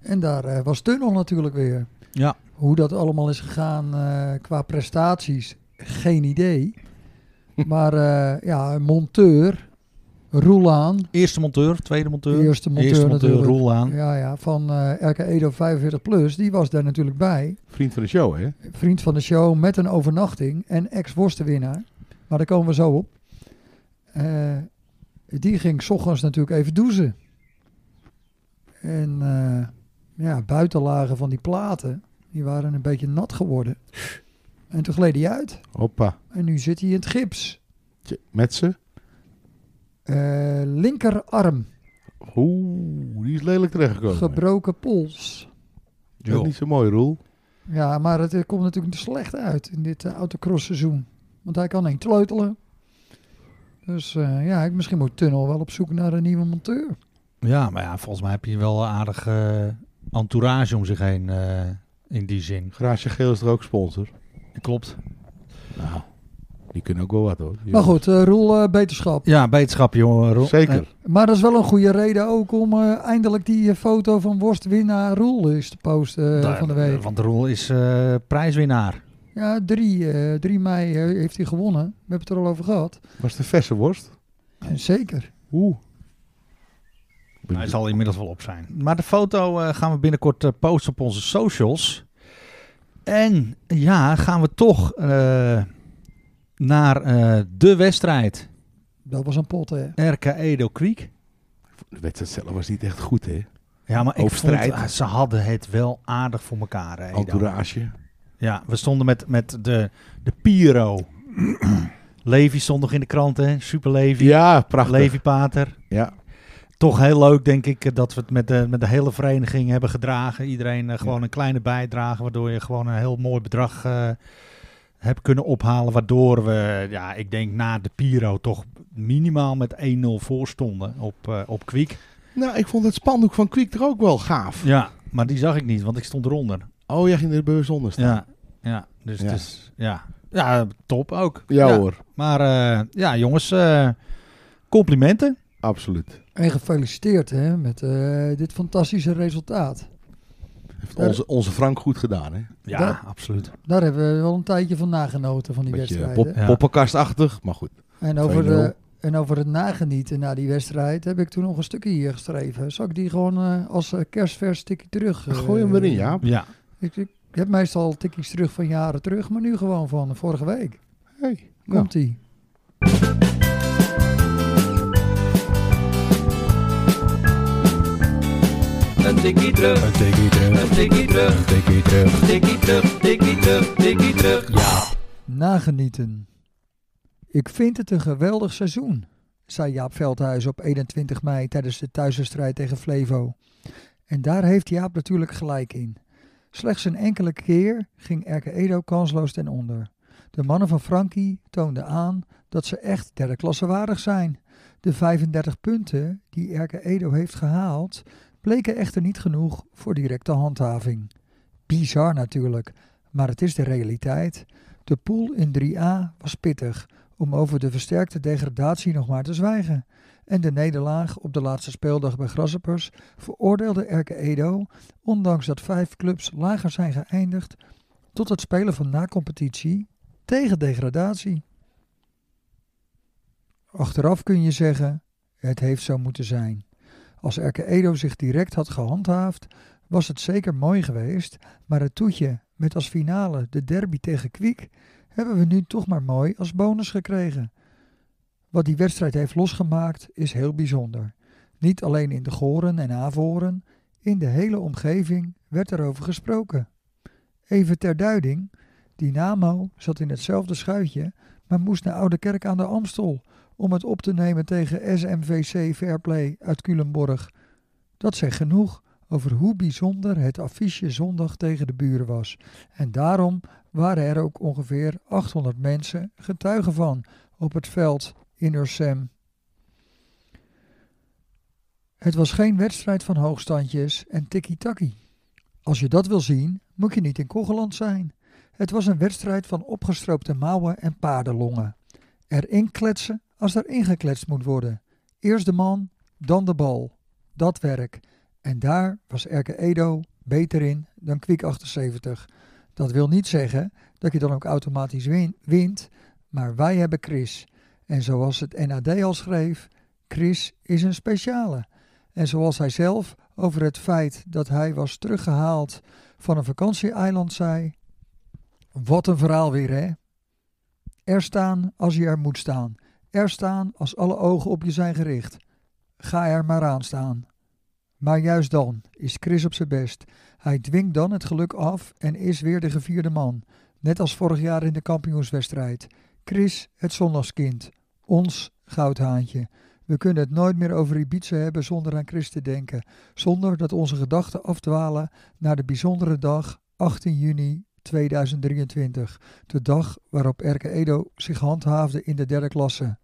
En daar eh, was Tunnel natuurlijk weer.
Ja.
Hoe dat allemaal is gegaan eh, qua prestaties, geen idee. Maar eh, ja, een monteur, Roelaan,
Eerste monteur, tweede monteur.
Eerste monteur
Eerste monteur
natuurlijk.
Roel aan.
ja, ja, van eh RK Edo 45 Plus, die was daar natuurlijk bij.
Vriend van de show, hè?
Vriend van de show met een overnachting en ex-worstenwinnaar. Maar daar komen we zo op. Eh, die ging 's ochtends natuurlijk even douchen. En eh ja, buitenlagen van die platen, die waren een beetje nat geworden. En toen gleed hij uit.
Hoppa.
En nu zit hij in het gips.
Tje, Met ze.
Eh, linkerarm,
Oeh, die is lelijk terechtgekomen.
gebroken pols.
Dat is niet zo mooi, Roel.
Ja, maar het eh, komt natuurlijk slecht uit in dit eh, autocross seizoen. Want hij kan niet sleutelen. Dus eh, ja, ik, misschien moet Tunnel wel op zoek naar een nieuwe monteur.
Ja, maar ja, volgens mij heb je wel een aardig eh, entourage om zich heen eh, in die zin.
Garage Geel is er ook sponsor.
Klopt.
Nou, die kunnen ook wel wat, hoor.
Maar goed, eh, Roel, eh, beterschap.
Ja, beterschap, jongen. Roel.
Zeker.
Maar dat is wel een goede reden ook om eh, eindelijk die eh, foto van worstwinnaar Roel is te posten eh,
Eh, daar-
van de week.
Want Roel is eh, prijswinnaar.
Ja, 3, eh, 3 mei eh, heeft hij gewonnen. We hebben het er al over gehad.
Was de verse worst?
En zeker.
Oeh.
Hij zal inmiddels wel op zijn. Mhm. Maar de foto eh, gaan we binnenkort eh, posten op onze socials. En ja, gaan we toch eh, naar eh, de wedstrijd.
Dat was een pot, hè.
RK Edo Creek.
De wedstrijd zelf was niet echt goed, hè?
Ja, maar ik vond,
Hoofdstrijd.
eh, ze hadden het wel aardig voor elkaar. hè, Edo.
Entourage.
Ja, we stonden met, met de, de Piro. Levi stond nog in de krant, hè? Super Levi.
Ja, prachtig.
Levi Pater.
Ja.
Toch heel leuk, denk ik, eh, dat we het met de, met de hele vereniging hebben gedragen. Iedereen eh, gewoon een kleine bijdrage, waardoor je gewoon een heel mooi bedrag eh, hebt kunnen ophalen. Waardoor we, ja, ik denk na de Piro toch minimaal met 1-0 voor stonden op, eh, op Kwiek.
Nou, ik vond het spandoek van Kwiek er ook wel gaaf.
Ja, maar die zag ik niet, want ik stond eronder.
Oh, jij ging er bewust onder staan.
Ja, ja dus
Ja.
het is, ja. ja, top ook.
Ja, hoor,
Maar eh, ja, jongens, eh, complimenten.
absoluut.
En gefeliciteerd, hè, met eh, dit fantastische resultaat.
Heeft
Ja,
onze, onze Frank goed gedaan, hè?
Ja,
Dat-
absoluut.
Daar hebben we wel een tijdje van nagenoten van die
Beetje
wedstrijden.
pop,
Ja.
poppenkastachtig, maar goed.
en, over
2-0.
de, en over het nagenieten na die wedstrijd heb ik toen nog een stukje hier geschreven. Zal ik die gewoon eh, als eh, kerstvers tikkie terug? eh,
Gooi hem erin, Jaap.
Ja,
Ik, ik heb meestal tikkies terug van jaren terug, maar nu gewoon van vorige week.
Hey, nou,
Komt ie.
Een tikkie terug,
een tikkie
een tikkie terug, tikkie terug, tikkie terug, tikkie terug.
Nagenieten. Ik vind het een geweldig seizoen. zei Jaap Veldhuis op 21 mei tijdens de thuiswedstrijd tegen Flevo. En daar heeft Jaap natuurlijk gelijk in. Slechts een enkele keer ging Erke Edo kansloos ten onder. De mannen van Frankie toonden aan dat ze echt derde klasse waardig zijn. De 35 punten die Erke Edo heeft gehaald, bleken echter niet genoeg voor directe handhaving. Bizar natuurlijk, maar het is de realiteit. De pool in 3A was pittig, om over de versterkte degradatie nog maar te zwijgen. En de nederlaag op de laatste speeldag bij Grasshoppers veroordeelde Erke Edo, ondanks dat vijf clubs lager zijn geëindigd, tot het spelen van nacompetitie tegen degradatie. Achteraf kun je zeggen, het heeft zo moeten zijn. Als Erke Edo zich direct had gehandhaafd, was het zeker mooi geweest, maar het toetje met als finale de derby tegen Kwiek hebben we nu toch maar mooi als bonus gekregen. Wat die wedstrijd heeft losgemaakt is heel bijzonder. Niet alleen in de Goren en Avoren, in de hele omgeving werd erover gesproken. Even ter duiding, Dynamo zat in hetzelfde schuitje, maar moest naar Oude Kerk aan de Amstel om het op te nemen tegen SMVC Fairplay uit Culemborg. Dat zegt genoeg over hoe bijzonder het affiche zondag tegen de buren was. En daarom waren er ook ongeveer 800 mensen getuigen van op het veld in Ursem. Het was geen wedstrijd van hoogstandjes en tikkie-takkie. Als je dat wil zien, moet je niet in Kogeland zijn. Het was een wedstrijd van opgestroopte mouwen en paardenlongen. Erin kletsen als er ingekletst moet worden. Eerst de man, dan de bal. Dat werk. En daar was Erke Edo beter in dan Kwik 78. Dat wil niet zeggen dat je dan ook automatisch win- wint, maar wij hebben Chris. En zoals het NAD al schreef, Chris is een speciale. En zoals hij zelf over het feit dat hij was teruggehaald van een vakantieeiland zei: Wat een verhaal weer, hè? Er staan als je er moet staan. Er staan als alle ogen op je zijn gericht. Ga er maar aan staan. Maar juist dan is Chris op zijn best. Hij dwingt dan het geluk af en is weer de gevierde man. Net als vorig jaar in de kampioenswedstrijd. Chris, het zondagskind. Ons goudhaantje. We kunnen het nooit meer over Ibiza hebben zonder aan Chris te denken. Zonder dat onze gedachten afdwalen naar de bijzondere dag 18 juni 2023. De dag waarop Erke Edo zich handhaafde in de derde klasse.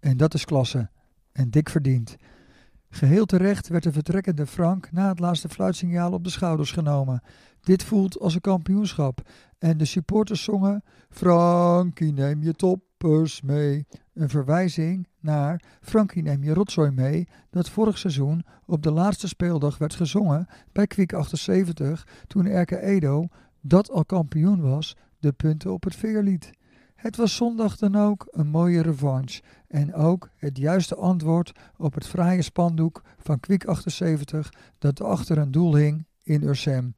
En dat is klasse. En dik verdiend. Geheel terecht werd de vertrekkende Frank na het laatste fluitsignaal op de schouders genomen. Dit voelt als een kampioenschap. En de supporters zongen: Frankie, neem je toppers mee. Een verwijzing naar Frankie, neem je rotzooi mee. Dat vorig seizoen op de laatste speeldag werd gezongen bij Kwik 78. Toen RK Edo, dat al kampioen was, de punten op het veer liet. Het was zondag dan ook een mooie revanche en ook het juiste antwoord op het fraaie spandoek van Kwik 78 dat achter een doel hing in Ursem.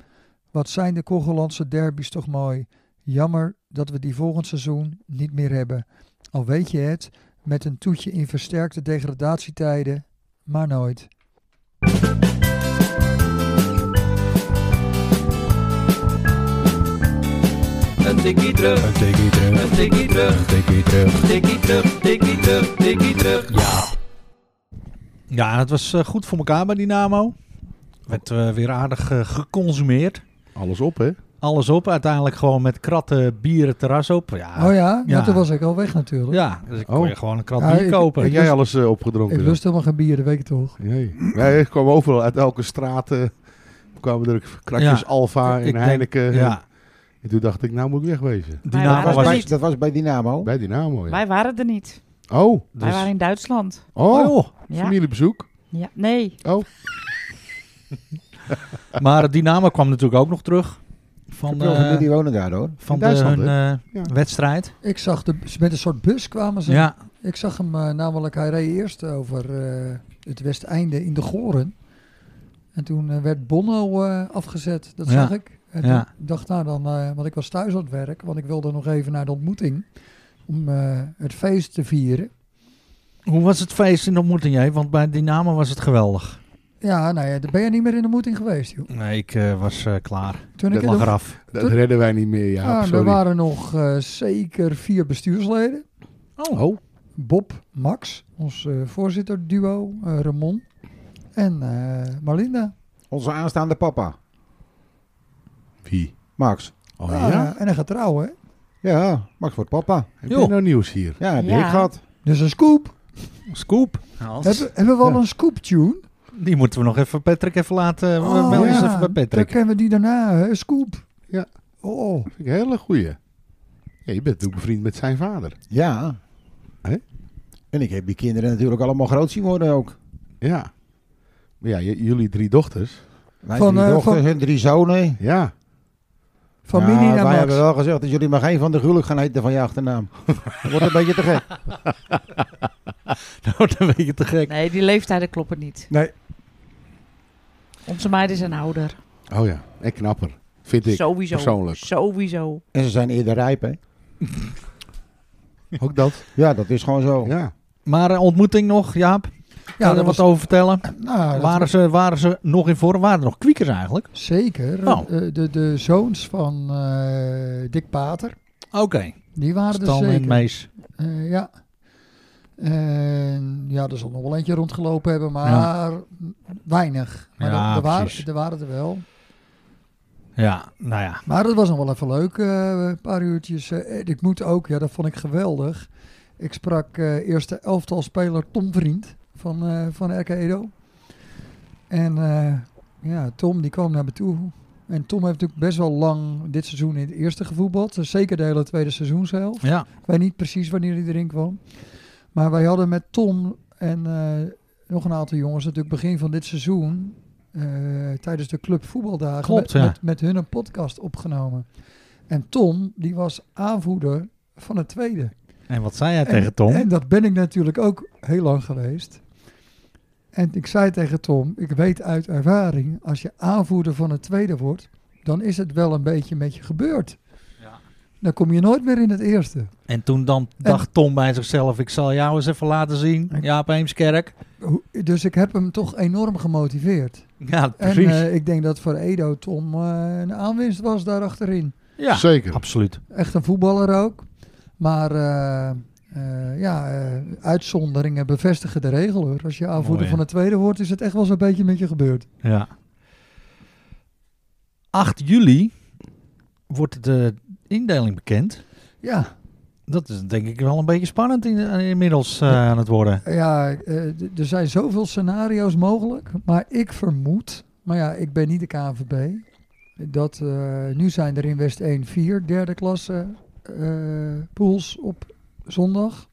Wat zijn de Kogelandse derbies toch mooi. Jammer dat we die volgend seizoen niet meer hebben. Al weet je het, met een toetje in versterkte degradatietijden, maar nooit.
Een tikkie terug,
Een tikkie terug,
een tikkie terug,
een tikkie terug.
tikkie terug, tikkie terug, tikkie terug. Ja.
Ja, dat was eh, goed voor elkaar bij Dynamo. Werd eh, weer aardig eh, geconsumeerd.
Alles op, hè?
Alles op, uiteindelijk gewoon met kratten, bieren, terras op. Ja,
oh ja, ja,
Ah, ja.
toen was ik al weg natuurlijk.
ja dus ik kon
Oh.
je gewoon een krat
Ja,
bier
ik-
kopen.
Heb jij alles eh, opgedronken?
Ik
dan?
lust helemaal geen bier, dat weet ik toch.
Nee. nee, ik kwam overal uit elke straat. eh, kwamen er krakjes
Ja.
Alfa
Ik
en
denk-
Heineken.
ja,
En toen dacht ik, nou moet ik wegwezen.
Wij
Dynamo
waren,
Dat
was...
er
was,
niet.
dat was bij Dynamo.
Bij Dynamo, ja.
Wij waren er niet.
Oh,
Wij
Dus-
waren in Duitsland.
oh,
Oh,
Ja.
familiebezoek.
ja. Nee,
Oh,
maar Dynamo kwam natuurlijk ook nog terug
Ik
van,
heb wel
eh,
familie die wonen daar hoor.
van
In
de,
Duitsland,
hun eh,
Ja.
wedstrijd.
Ik zag de, met een soort bus kwamen ze.
Ja,
Ik zag hem eh, namelijk, hij reed eerst over eh, het Westeinde in de Goren. En toen eh, werd Bonno eh, afgezet, dat
Ja.
zag ik. En
Ja.
toen dacht nou dan, eh, want ik was thuis aan het werk, want ik wilde nog even naar de ontmoeting om eh, het feest te vieren.
hoe was het feest in de ontmoeting jij? Want bij Dynamo was het geweldig.
Ja, nou ja, dan ben je niet meer in de ontmoeting geweest, joh.
Nee, ik eh, was eh, klaar.
Toen
Ik
ik in
lag
de,
eraf.
dat redden wij niet meer, ja.
Ah, er
sorry.
waren nog eh, zeker vier bestuursleden.
Oh,
Oh,
Bob, Max, ons eh, voorzitterduo, eh, Ramon en eh, Marlinda.
Onze aanstaande papa,
Wie?
Max.
Oh
Ah,
ja?
En hij gaat trouwen, hè?
Ja, Max wordt papa.
Heb
Joh.
je nou nieuws hier?
Ja, heb je
Ja.
ik gehad.
Dus een scoop.
Scoop. Hans.
Hebben, hebben we al
Ja.
een scoop-tune?
Die moeten we nog even Patrick even laten. We
Oh,
melden
ja.
eens even bij
Dan
Patrick.
kennen we die daarna, hè? Scoop.
Ja.
Oh,
Vind ik een hele goeie. Ja, je bent ook bevriend met zijn vader.
Ja.
Hè?
En ik heb die kinderen natuurlijk allemaal groot zien worden ook.
Ja. Maar ja, j- jullie drie dochters.
Mijn
Van,
drie
eh,
dochters
van-
en drie zonen.
Ja.
van
Ja,
Minnie
wij
naar Max.
hebben wel gezegd dat jullie maar geen van de gruwelijk gaan heten van je achternaam. Dat wordt een beetje te gek.
Dat wordt een beetje te gek.
Nee, die leeftijden kloppen niet.
Nee.
Onze meiden zijn ouder.
Oh ja. En knapper. Vind ik.
Sowieso.
persoonlijk.
Sowieso.
En ze zijn eerder rijp, hè?
Ook dat.
Ja, dat is gewoon zo.
Ja.
Maar eh, ontmoeting nog, Jaap? Kan
Ja,
je er
dat
wat
was
over vertellen?
nou, dat
waren, ze, waren ze nog in vorm? Waren er nog kwiekers eigenlijk?
Zeker.
Oh.
Eh, de, de zoons van eh, Dick Pater,
Oké.
die waren
Stan
er
en
zeker.
Mees.
Eh, ja. En ja, er zal nog wel eentje rondgelopen hebben, maar weinig. Maar
Ja,
er, er,
precies.
waren, er waren er wel.
Ja, nou ja.
Maar dat was nog wel even leuk, eh, een paar uurtjes. Eh, en ik moet ook, ja, dat vond ik geweldig. Ik sprak eh, eerste elftal speler Tom Vriend van, eh, van RK Edo. En eh, ja, Tom die kwam naar me toe. En Tom heeft natuurlijk best wel lang dit seizoen in het eerste gevoetbald. Dus zeker de hele tweede seizoen zelf.
Ja,
Ik weet niet precies wanneer hij erin kwam. Maar wij hadden met Tom en eh, nog een aantal jongens natuurlijk begin van dit seizoen... eh, tijdens de club voetbaldagen
Klopt,
met,
ja.
met, met hun een podcast opgenomen. En Tom, die was aanvoerder van het tweede.
en wat zei jij
En-
tegen Tom?
En dat ben ik natuurlijk ook heel lang geweest. En ik zei tegen Tom, ik weet uit ervaring, als je aanvoerder van het tweede wordt, dan is het wel een beetje met je gebeurd.
Ja.
Dan kom je nooit meer in het eerste.
En toen dan dacht Tom bij zichzelf, ik zal jou eens even laten zien,
Ik-
Jaap Eemskerk.
Hoe- Dus ik heb hem toch enorm gemotiveerd.
Ja,
En
precies.
eh, ik denk dat voor Edo Tom eh, een aanwinst was daar achterin.
ja,
Zeker.
absoluut.
Echt een voetballer ook. Maar eh, eh, ja, eh, uitzonderingen bevestigen de regel hoor. Als je aanvoerder
Mooi, hè?
van het tweede wordt, is het echt wel zo'n beetje met je gebeurd.
Ja. 8 juli wordt de indeling bekend.
Ja,
Dat is denk ik wel een beetje spannend in, inmiddels eh, aan het worden.
ja eh, d- er zijn zoveel scenario's mogelijk. Maar ik vermoed, maar ja, ik ben niet de KNVB. Dat eh, nu zijn er in West 1 vier derde klasse eh, pools op zondag.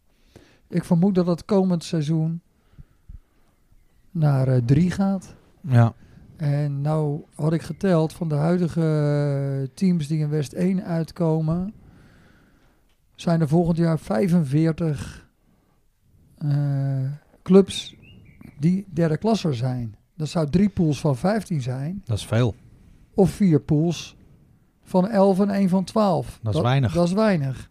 Ik vermoed dat dat komend seizoen naar eh, drie gaat.
Ja.
En nou had ik geteld van de huidige teams die in West 1 uitkomen, zijn er volgend jaar 45 eh, clubs die derde klasser zijn. Dat zou drie pools van 15 zijn,
Dat is veel.
of vier pools van 11 en één van 12.
Dat is weinig.
Dat is weinig.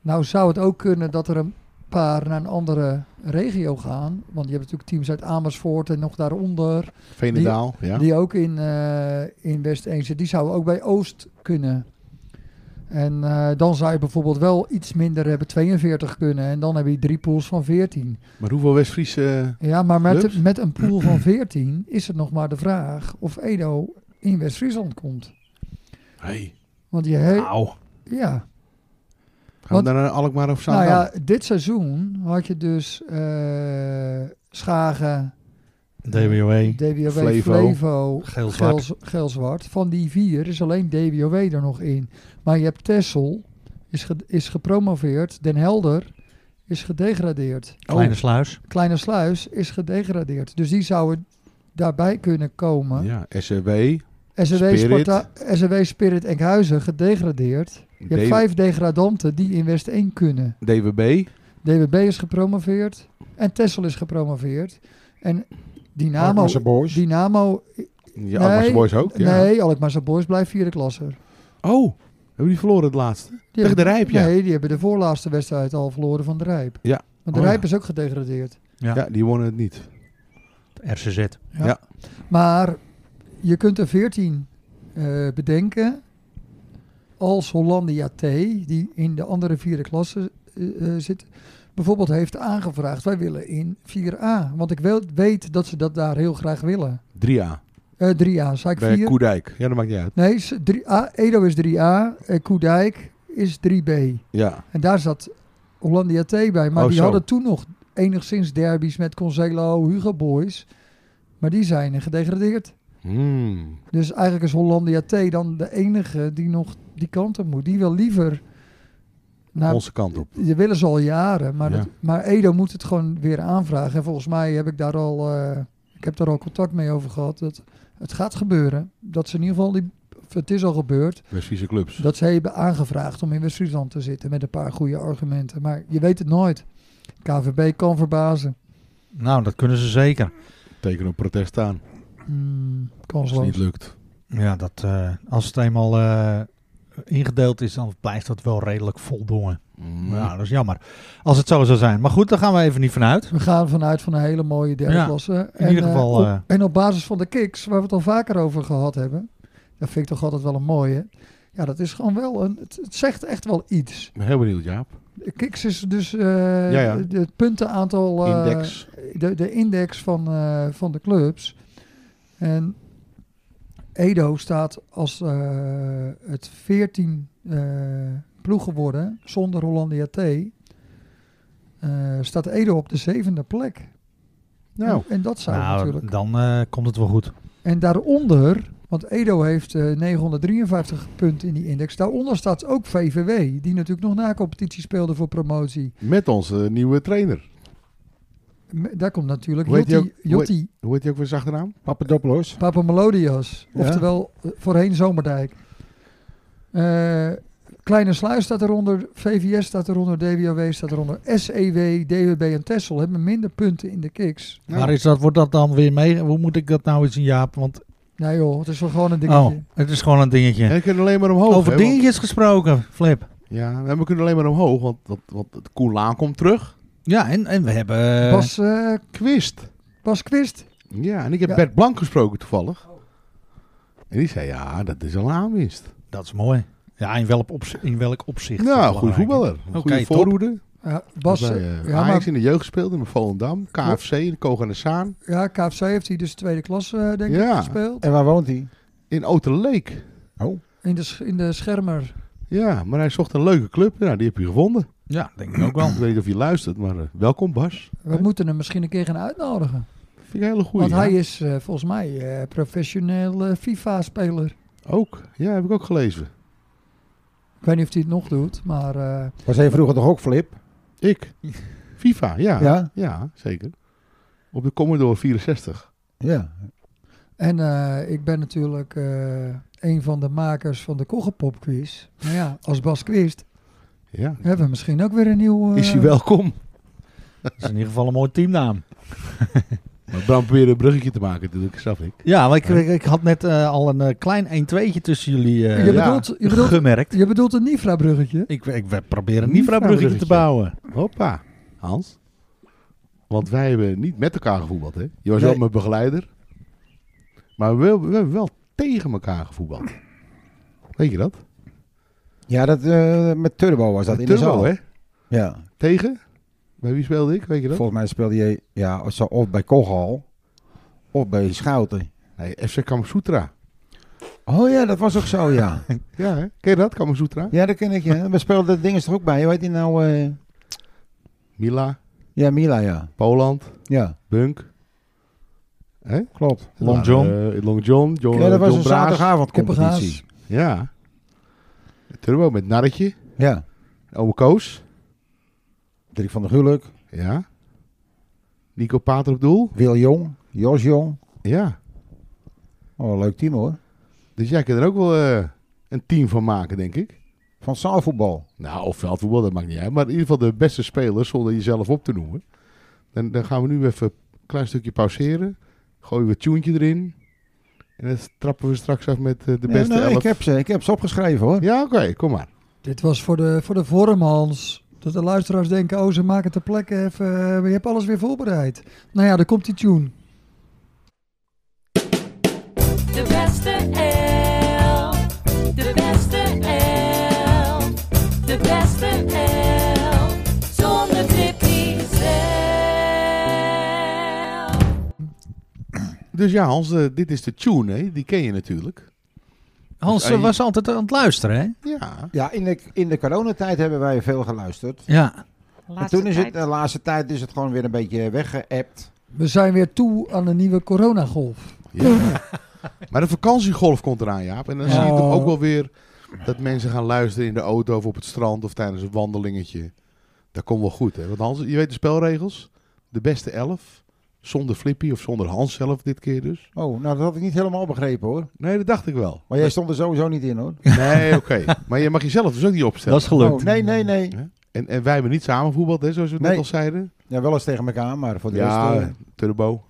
Nou zou het ook kunnen dat er een paar naar een andere regio gaan. Want je hebt natuurlijk teams uit Amersfoort en nog daaronder.
Veenendaal. Ja.
Die ook in, eh, in West 1 zit. Die zouden ook bij Oost kunnen. En eh, dan zou je bijvoorbeeld wel iets minder hebben, 42 kunnen. En dan heb je drie pools van 14.
Maar hoeveel West-Friese... eh,
Ja, maar
Clubs?
met, met een pool van 14 is het nog maar de vraag of Edo in West-Friesland komt.
Hey.
Want je he-
Nou,
ja.
Gaan we
Want-
daar naar Alkmaar of
Nou
Zaandam?
ja, dit seizoen had je dus eh, Schagen,
DWOE.
DWW,
Flevo.
Flevo,
Geel-zwart.
Geel- Geel-zwart. Van die vier is alleen DWOW er nog in. Maar je hebt Tessel, is, ge- is gepromoveerd. Den Helder is gedegradeerd.
Oh.
Kleine sluis.
Kleine Sluis is gedegradeerd. Dus die zouden daarbij kunnen komen.
Ja, SCW,
SW,
Spirit.
Sparta, SW Spirit Enkhuizen gedegradeerd. Je hebt
D-
vijf degradanten die in West 1 kunnen.
DWB.
DWB is gepromoveerd. En Tessel is gepromoveerd. En Dynamo,
Alkmaarse boys.
Dynamo
Ja, Alkmaarse Boys ook. Ja.
Nee, Alkmaarse Boys blijft vierde klasser.
Oh, hebben die verloren het laatste?
Die
Tegen de
hebben-
Rijp, ja.
Nee, die hebben de voorlaatste wedstrijd al verloren van de Rijp.
Ja.
Want de
Oh,
Rijp
ja.
is ook gedegradeerd.
Ja.
Ja, die wonnen het niet.
RCZ.
Ja.
Maar je kunt er 14 eh, bedenken als Hollandia T, die in de andere vierde klasse eh, eh, zit, bijvoorbeeld heeft aangevraagd, wij willen in 4A. Want ik wel- weet dat ze dat daar heel graag willen.
3A.
Eh 3A, zei ik
Bij
4?
Koedijk. Ja, dat maakt niet uit.
Nee, is 3A, Edo is 3A, eh, Koedijk is 3B.
Ja.
En daar zat Hollandia T bij. Maar
Oh,
die
zo.
hadden toen nog enigszins derbies met Concelo, Hugo Boys. Maar die zijn eh, gedegradeerd.
Hmm.
Dus eigenlijk is Hollandia T dan de enige die nog die kant op moet. Die wil liever... naar
Onze kant op.
dat willen ze al jaren, maar,
Ja.
dat- maar Edo moet het gewoon weer aanvragen. En volgens mij heb ik daar al, eh, ik heb daar al contact mee over gehad. Dat het gaat gebeuren. Dat ze in ieder geval, die, of het is al gebeurd,
West-Friese clubs.
dat ze hebben aangevraagd om in West-Friesland te zitten met een paar goede argumenten. Maar je weet het nooit. KVB kan verbazen.
Nou, dat kunnen ze zeker.
Teken op protest aan.
Hmm,
Als het niet
kansloos.
lukt.
Ja, dat, eh, als het eenmaal eh, ingedeeld is, dan blijft dat wel redelijk voldongen.
Hmm.
Nou, dat is jammer. Als het zo zou zijn. Maar goed, daar gaan we even niet vanuit.
We gaan vanuit van een hele mooie derde
Ja,
klasse.
in ieder geval,
op,
eh,
en op basis van de kicks, waar we het al vaker over gehad hebben. Dat vind ik toch altijd wel een mooie. Ja, dat is gewoon wel een... Het, het zegt echt wel iets.
Ik ben heel benieuwd, Jaap.
De kicks is dus eh,
Ja, ja.
de- het puntenaantal... eh,
Index.
De, de index van, eh, van de clubs. En Edo staat als eh, het 14 eh, ploeg geworden zonder Hollandia T. Eh, staat Edo op de zevende plek.
Nou.
En dat zou
Nou,
natuurlijk.
dan eh, komt het wel goed.
En daaronder, want Edo heeft eh, 953 punten in die index. Daaronder staat ook VVW, die natuurlijk nog na competitie speelde voor promotie.
Met onze nieuwe trainer.
M- Daar komt natuurlijk
Hoe heet die
Jotti,
ook? Hoe heet-
Jotti
Hoe heet je ook weer zijn achternaam?
Papadopoulos.
Papamelodias.
Ja.
Oftewel eh, voorheen Zomerdijk. Eh, Kleine Sluis staat eronder, VVS staat eronder, DWOW staat eronder, E SEW, DWB en Tessel hebben minder punten in de kicks.
Ja.
Maar is dat, wordt dat dan weer mee? Hoe moet ik dat nou eens in Jaap? Want
Nou joh, het is wel gewoon een dingetje. Oh,
oh, het is gewoon een dingetje.
En we kunnen alleen maar omhoog.
Over
hè,
dingetjes gesproken, Flip.
want- ja, en we kunnen alleen maar omhoog, want, want, want Koen Laan komt terug.
Ja, en, en we hebben...
Bas, eh,
Quist.
Bas Quist,
Ja, en ik heb
Ja.
Bert Blank gesproken toevallig. En die zei, ja, dat is al een aanwinst.
Dat is mooi. Ja, in welk, opzi- in welk opzicht? is
nou,
dat
goede
belangrijk, hè?
voetballer. goede
top.
voorhoede.
Ja, Bas,
Bij,
eh,
eh,
ja,
Ajax
maar,
in de jeugd gespeeld, in Volendam. KFC, in Kogan en Saan.
ja, KFC heeft hij dus tweede klasse eh, denk
Ja.
ik gespeeld.
En waar woont hij?
In Oterleek.
In de, sch- in de Schermer.
Ja, maar hij zocht een leuke club. Nou, die heb je gevonden.
Ja, denk ik ook wel.
Ik weet niet of je luistert, maar eh, welkom Bas.
We
Hè?
moeten hem misschien een keer gaan uitnodigen.
Vind ik een hele goede.
Want hij is eh, volgens mij eh, professioneel eh, FIFA-speler.
Ook. Ja, heb ik ook gelezen.
Ik weet niet of hij het nog doet, maar eh,
Was hij vroeger toch ook Flip?
Ik. FIFA, ja. ja.
Ja?
zeker. Op de Commodore 64.
Ja.
En eh, ik ben natuurlijk eh, een van de makers van de Koggenpop quiz. Nou ja, als Bas Quist
Ja.
hebben we misschien ook weer een nieuw... eh,
Is hij welkom?
Dat is in ieder geval een mooie teamnaam.
Maar Bram probeerde een bruggetje te maken natuurlijk, snap ik.
Ja, maar ik, ik, ik had net eh, al een eh, klein 1-2'tje tussen jullie eh,
je,
Ja.
bedoelt, je, bedoelt,
gemerkt.
je bedoelt een Nifra-bruggetje?
Ik, ik, we proberen een
Nifra-bruggetje.
Nifra-bruggetje te bouwen.
Hoppa, Hans. Want wij hebben niet met elkaar gevoetbald, hè? Je was
Nee.
wel mijn begeleider. Maar we, we hebben wel tegen elkaar gevoetbald. Weet je dat?
Ja, dat, eh, met Turbo was dat in de zaal.
hè?
Ja.
Tegen? Bij wie speelde ik? Weet je dat?
Volgens mij speelde je ja, of zo of bij Kogel of bij Schouten.
Nee, FC Kamasutra.
Oh ja, dat was ook zo, ja.
Ja, hè? Ken je dat? Kamasutra?
ja, dat ken ik, ja. We speelden dat ding is toch ook bij. Hoe heet die nou? eh?
Mila,
Ja, Mila, ja.
Poland,
Ja,
Bunk.
klopt.
Long
Nou,
John.
eh, Long John. John
Ja, dat was
John
een
Braas.
zaterdagavondcompetitie.
Ja. Turbo met Narretje.
Ja.
Ome Koos.
Dirk van der Gulik,
Ja. Nico Pater op doel.
Wil Jong, Jos Jong.
Ja.
Oh, leuk team hoor.
Dus jij kan er ook wel eh, een team van maken, denk ik.
Van zaalvoetbal.
Nou, of veldvoetbal, dat maakt niet uit. Maar in ieder geval de beste spelers, zonder jezelf op te noemen. Dan, dan gaan we nu even een klein stukje pauzeren. Gooien we het tuentje erin. En dan trappen we straks af met eh, de
Nee,
beste
nee,
elf.
ik, heb ze, ik heb ze opgeschreven hoor.
Ja, oké, kom maar.
Dit was voor de, voor de vorm, Hans. Dat de luisteraars denken, oh, ze maken ter plekke even... eh, maar je hebt alles weer voorbereid. Nou ja, daar komt die tune.
De beste elf. De beste elf. De beste elf. de trippie zelf.
Dus ja, Hans, eh, dit is de tune, hè? Die ken je natuurlijk.
Hans eh,
Hey.
was altijd aan het luisteren, hè?
Ja.
Ja, in de, in de coronatijd hebben wij veel geluisterd.
Ja.
En
Laatste
toen is het, eh,
tijd.
de laatste tijd is het gewoon weer een beetje weggeëpt.
We zijn weer toe aan een nieuwe coronagolf.
ja. maar de vakantiegolf komt eraan, Jaap. En dan zie je
Oh.
toch ook wel weer dat mensen gaan luisteren in de auto of op het strand of tijdens een wandelingetje. Dat komt wel goed, hè? Want Hans, je weet de spelregels. De beste elf. Zonder Flippy of zonder Hans zelf dit keer dus.
Oh, nou dat had ik niet helemaal begrepen hoor.
Nee, dat dacht ik wel.
Maar jij stond er sowieso niet in hoor.
Nee, oké. Maar je mag jezelf dus ook niet opstellen.
Dat is gelukt.
Oh, nee, nee, nee.
En, en wij hebben niet samen voetbald, hè, zoals we het net
Nee.
al zeiden.
Ja, wel eens tegen elkaar, maar voor de
Ja,
rest... eh,
turbo.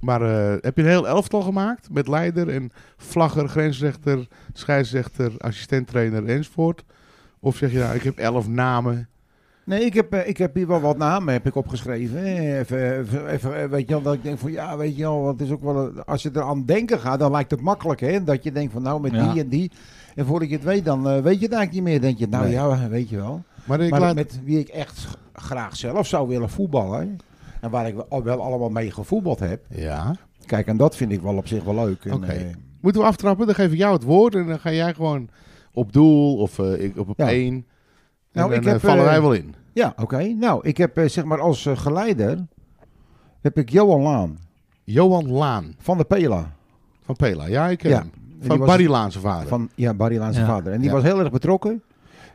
Maar eh, heb je een heel elftal gemaakt met leider en vlagger, grensrechter, scheidsrechter, assistenttrainer enzovoort? Of zeg je nou, ik heb elf namen.
Nee, ik heb, eh, ik heb hier wel wat namen heb ik opgeschreven. Eh, Even, even, even, eh, weet je wel, dat ik denk van ja, weet je wel, want het is ook wel, een- als je er aan denken gaat, dan lijkt het makkelijk hè. Dat je denkt van nou, met
Ja.
die en die. En voordat je het weet, dan eh, weet je het eigenlijk niet meer. denk je, nou
Nee.
ja, weet je wel.
Maar ik
maar
laat...
met wie ik echt g- graag zelf zou willen voetballen. hè, En waar ik wel wel allemaal mee gevoetbald heb.
Ja.
Kijk, en dat vind ik wel op zich wel leuk. En,
Oké.
eh,
Moeten we aftrappen? Dan geef ik jou het woord en dan ga jij gewoon op doel of eh, ik op, op
Ja.
één. En
Nou,
dan
ik
eh,
heb,
vallen
eh,
wij wel in.
ja, oké. Nou, ik heb eh, zeg maar als eh, geleider, heb ik Johan Laan
Johan Laan
van de Pela.
van Pela. Ja, ik ken
Ja.
hem.
En die
Van
was-
Barry Laan zijn vader.
Van, ja, Barry Laan zijn
Ja.
vader. En die
Ja.
was heel erg betrokken.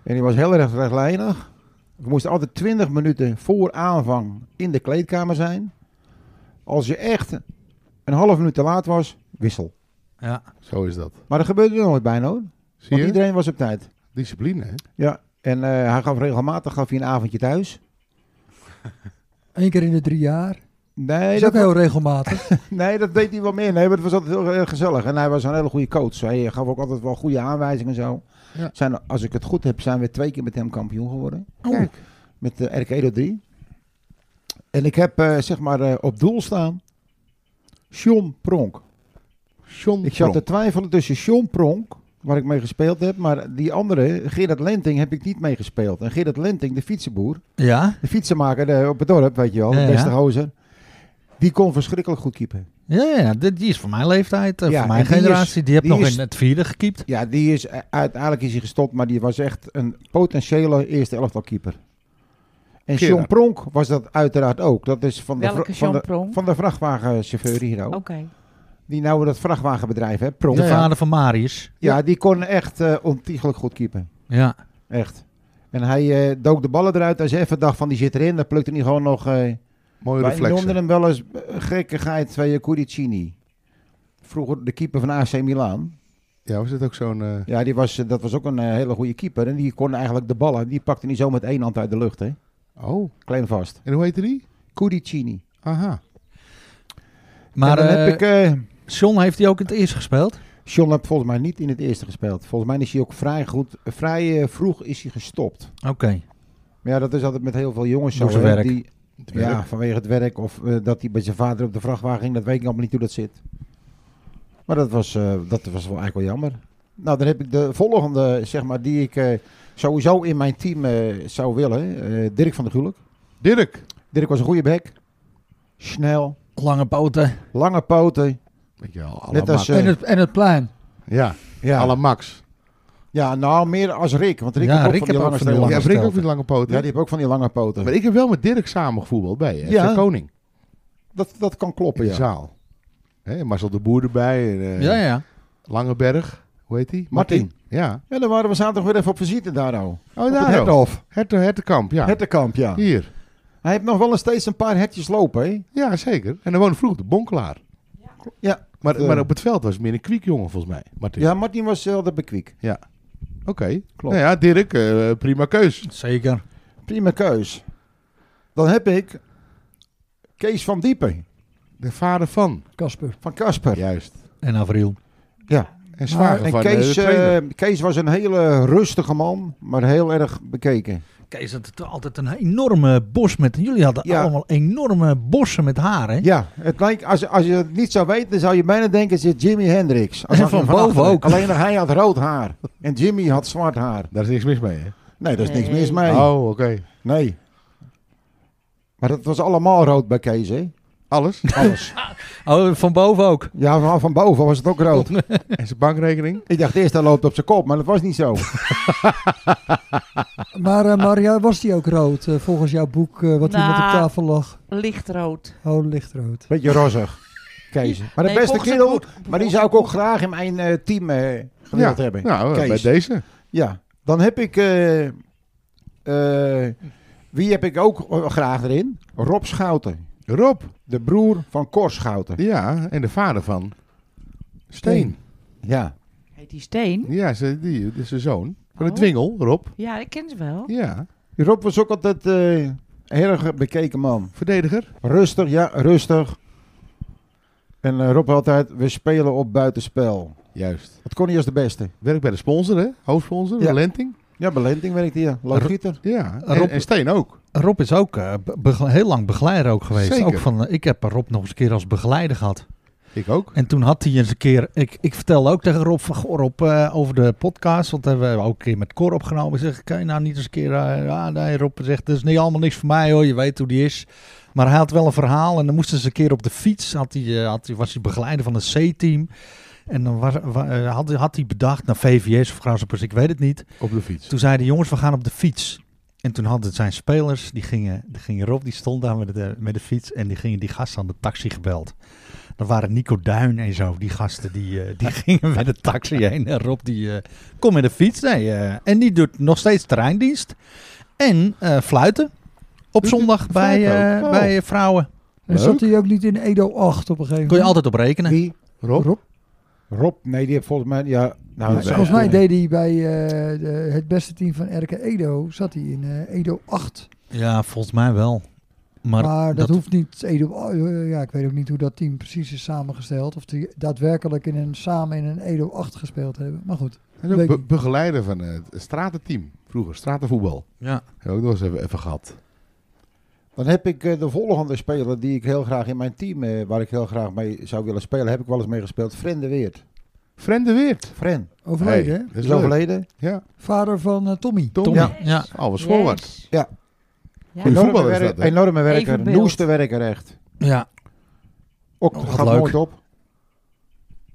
En die was heel erg rechtlijnig. We moesten altijd 20 minuten voor aanvang in de kleedkamer zijn. Als je echt een half minuut te laat was, wissel.
Ja.
Zo is dat.
Maar dat gebeurde nooit bijna hoor.
Zie
Want
je?
iedereen was op tijd.
Discipline, hè?
Ja, en eh, hij gaf regelmatig gaf hij een avondje thuis.
Eén keer in de drie jaar.
Nee
is nou
dat,
ook heel regelmatig.
nee, dat deed hij wel meer. Nee, maar het was altijd heel erg gezellig. En hij was een hele goede coach. Hij gaf ook altijd wel goede aanwijzingen en zo.
Ja.
Zijn, als ik het goed heb, zijn we twee keer met hem kampioen geworden.
Kijk.
Met eh, de RK Edo 3. En ik heb eh, zeg maar eh, op doel staan. Sean Pronk.
John
Ik zat
Pronk.
te twijfelen tussen Sean Pronk, waar ik mee gespeeld heb, maar die andere, Gerard Lenting, heb ik niet mee gespeeld. En Gerard Lenting, de fietsenboer,
Ja?
de fietsenmaker eh, op het dorp, weet je wel,
Ja, ja.
de beste gozer, die kon verschrikkelijk goed keepen.
Ja, ja, ja. Die die is van mijn leeftijd, eh,
Ja,
van mijn
en die is-
generatie. die heb
die
nog
is-
in het vierde gekiept.
Ja, die is, eh, uiteindelijk is hij gestopt, maar die was echt een potentiële eerste elftal keeper. En
Gerard.
Sean Pronk was dat uiteraard ook. Dat is van de, vra-
Welke
van
Jean
de,
Pronk? Oh.
van de vrachtwagenchauffeur hier ook.
Oké.
Die nou dat vrachtwagenbedrijf, hè, Pronk.
De
Ja,
vader van Marius.
die kon echt eh, ontiegelijk goed keepen.
Ja.
Echt. En hij eh, dook de ballen eruit. Als je even dacht van die zit erin, dan plukte hij gewoon nog... eh
Mooie
wij
reflex.
noemden hem wel eens eh, gekkigheid van je Curicini. eh, Vroeger de keeper van AC Milan.
Ja, was het ook zo'n... eh,
Ja, die was, eh, dat was ook een eh, hele goede keeper. En die kon eigenlijk de ballen. Die pakte niet zo met één hand uit de lucht, hè.
Oh,
Klein vast.
en hoe heette die?
Curicini.
Aha.
Maar
en dan
eh,
heb ik... eh,
John heeft die ook in het eerst gespeeld.
John heb volgens mij niet in het eerste gespeeld. Volgens mij is hij ook vrij goed... Vrij eh, vroeg is hij gestopt.
Oké.
Maar ja, dat is altijd met heel veel jongens zo.
Door zijn
hè,
werk.
Die, ja, vanwege het werk. Of eh, dat hij bij zijn vader op de vrachtwagen ging. Dat weet ik allemaal niet hoe dat zit. Maar dat was, eh, dat was wel eigenlijk wel jammer. Nou, dan heb ik de volgende, zeg maar, die ik eh, sowieso in mijn team eh, zou willen. Eh, Dirk van der Gulik.
Dirk.
Dirk was een goede bek. Snel.
Lange poten.
Lange poten.
Weet je wel, à la
Net als,
Max.
eh,
en, het, en het plein.
Ja, à la
Ja.
Max.
ja, nou meer als Rick. Want Rick
Ja,
heeft ook
Rick
van die
heeft
lange
ook van
poten.
die
Ja,
lange
Rick ook
stelte.
met lange
Ja,
poten.
die heeft ook van die lange poten.
Maar ik heb wel met Dirk samen gevoetbald bij hè,
Ja.
FC Koning.
Dat, dat kan
In
kloppen,
de
ja.
zaal. Hè, Marcel de Boer erbij. En, eh,
Ja, ja.
Langeberg. Hoe heet die?
Martin.
Ja.
Ja, dan waren we zaterdag weer even op visite daar al.
Oh,
Op het
daar ook.
Herthof.
Herte, Hertekamp, ja.
Hertenkamp, ja.
Hier.
Hij heeft nog wel eens steeds een paar hertjes lopen, hè?
Ja, zeker. En dan woonde vroeg de Bonkelaar.
Ja.
Maar,
Eh.
maar op het veld was het meer een kwiekjongen volgens mij. Martin.
Ja, Martin was eh, altijd bekwiek.
Oké.
Klopt.
Nou ja, Dirk, eh, prima keus.
Zeker.
Prima keus. Dan heb ik Kees van Diepen,
De vader van.
Casper.
van Kasper.
Juist.
En Avril.
En zwager
Ah, En
van eh, de
Kees,
trainer.
eh, Kees was een hele rustige man, maar heel erg bekeken.
Kees had het altijd een enorme bos met... Jullie hadden
Ja.
allemaal enorme bossen met haar, hè?
Ja, het lijkt, als, als je het niet zou weten, dan zou je bijna denken, het is Jimi Hendrix. Als
En
hij
van
achteren-
boven ook.
Alleen hij had rood haar en Jimmy had zwart haar.
Daar is niks mis mee, hè?
Nee, daar is niks
Nee.
mis mee.
Oh, oké.
Nee. Maar dat was allemaal rood bij Kees, hè?
Alles.
Alles.
Oh, van boven ook.
ja, van, van boven was het ook rood.
en zijn bankrekening.
Ik dacht eerst, hij loopt op zijn kop, maar dat was niet zo.
Maar eh, Maria, was die ook rood eh, volgens jouw boek eh, wat hier
Nou.
met op tafel lag?
Lichtrood.
Oh, lichtrood.
Beetje rozig. Kees. Maar de
Nee,
beste
volgens het
kerel,
boek-
maar die zou ik ook graag in mijn eh, team eh gewild hebben.
Nou,
Kees.
bij deze.
Ja, dan heb ik. eh, eh, wie heb ik ook eh, graag erin? Rob Schouten.
Rob.
De broer van Cor Schouten.
Ja, en de vader van Steen.
Ja.
Heet die steen?
Ja, ze, die, dat is zijn zoon. Van de
Oh.
Dwingel, Rob.
Ja, ik ken ze wel.
Ja,
Die Rob was ook altijd eh, een heel erg bekeken man.
verdediger.
Rustig, ja, rustig. En eh, Rob altijd, we spelen op buitenspel.
Juist.
Dat kon hij als de beste.
Werkt bij de sponsor, hè? Hoofdsponsor,
Ja.
Lenting.
Ja, Belenting werkte hier. Loodgieter.
Ja, en,
Rob-
en Steen ook.
Rob is ook eh, be- be- heel lang begeleider ook geweest.
Zeker.
Ook van, eh, ik heb Rob nog eens een keer als begeleider gehad.
Ik ook.
En toen had hij eens een keer, ik, ik vertelde ook tegen Rob van Goor op, eh, over de podcast, want hebben we ook een keer met Cor opgenomen. Ik zeg, kan je nou niet eens een keer, eh, ja nee Rob zegt, dat is niet allemaal niks voor mij hoor, je weet hoe die is. Maar hij had wel een verhaal en dan moesten ze een keer op de fiets, had hij, eh, had hij, was hij begeleider van een C-team. En dan was, wa- eh, had, hij- had hij bedacht, nou, naar VVS of Grasshoppers, ik weet het niet.
Op de fiets.
Toen zeiden de jongens, we gaan op de fiets. En toen hadden het zijn spelers, die gingen, die gingen Rob, die stond daar met de, met de fiets en die gingen die gasten aan de taxi gebeld. Dat waren Nico Duin en zo, die gasten die, eh, die gingen met de taxi heen. En Rob die, eh kom met de fiets. Nee, eh, en die doet nog steeds terreindienst. En eh, fluiten op
Doet
zondag
hij
bij,
fluiten
eh,
ook? Oh.
bij eh, vrouwen.
En zat hij ook niet in Edo 8 op een gegeven
Kun je
moment?
altijd op rekenen.
Wie?
Rob.
Rob? Nee, die heeft volgens mij... Ja, nou, dat
Volgens
weet
mij
ik
deed hij bij eh, de- het beste team van RK Edo, zat hij in eh, Edo 8.
Ja, volgens mij wel. Maar,
Maar, dat,
dat,
hoeft niet. Edo, eh, ja, ik weet ook niet hoe dat team precies is samengesteld. Of die daadwerkelijk in een, samen in een Edo 8 gespeeld hebben. Maar goed.
Hij is ook
Weet
be-
niet.
begeleider van eh, het stratenteam. Vroeger, stratenvoetbal.
ja.
Heb ik ook nog eens even, even gehad.
Dan heb ik eh, de volgende speler die ik heel graag in mijn team, eh, waar ik heel graag mee zou willen spelen, heb ik wel eens mee gespeeld. Fren de Weert.
Fren de Weert.
Fren,
Overleden,
Hey,
hè?
dat
is,
is leuk.
overleden.
Ja,
Vader van eh, Tommy.
Tom.
Tommy.
Ja.
Ja. Ja.
Oh, wat schoolwaard.
Yes.
Ja.
Ja.
Goeie voetballer is
werker,
dat, hè?
enorme werker,
Evenbeeld.
noeste werker echt. Ook
Oh, wat
gaat
leuk.
nooit op.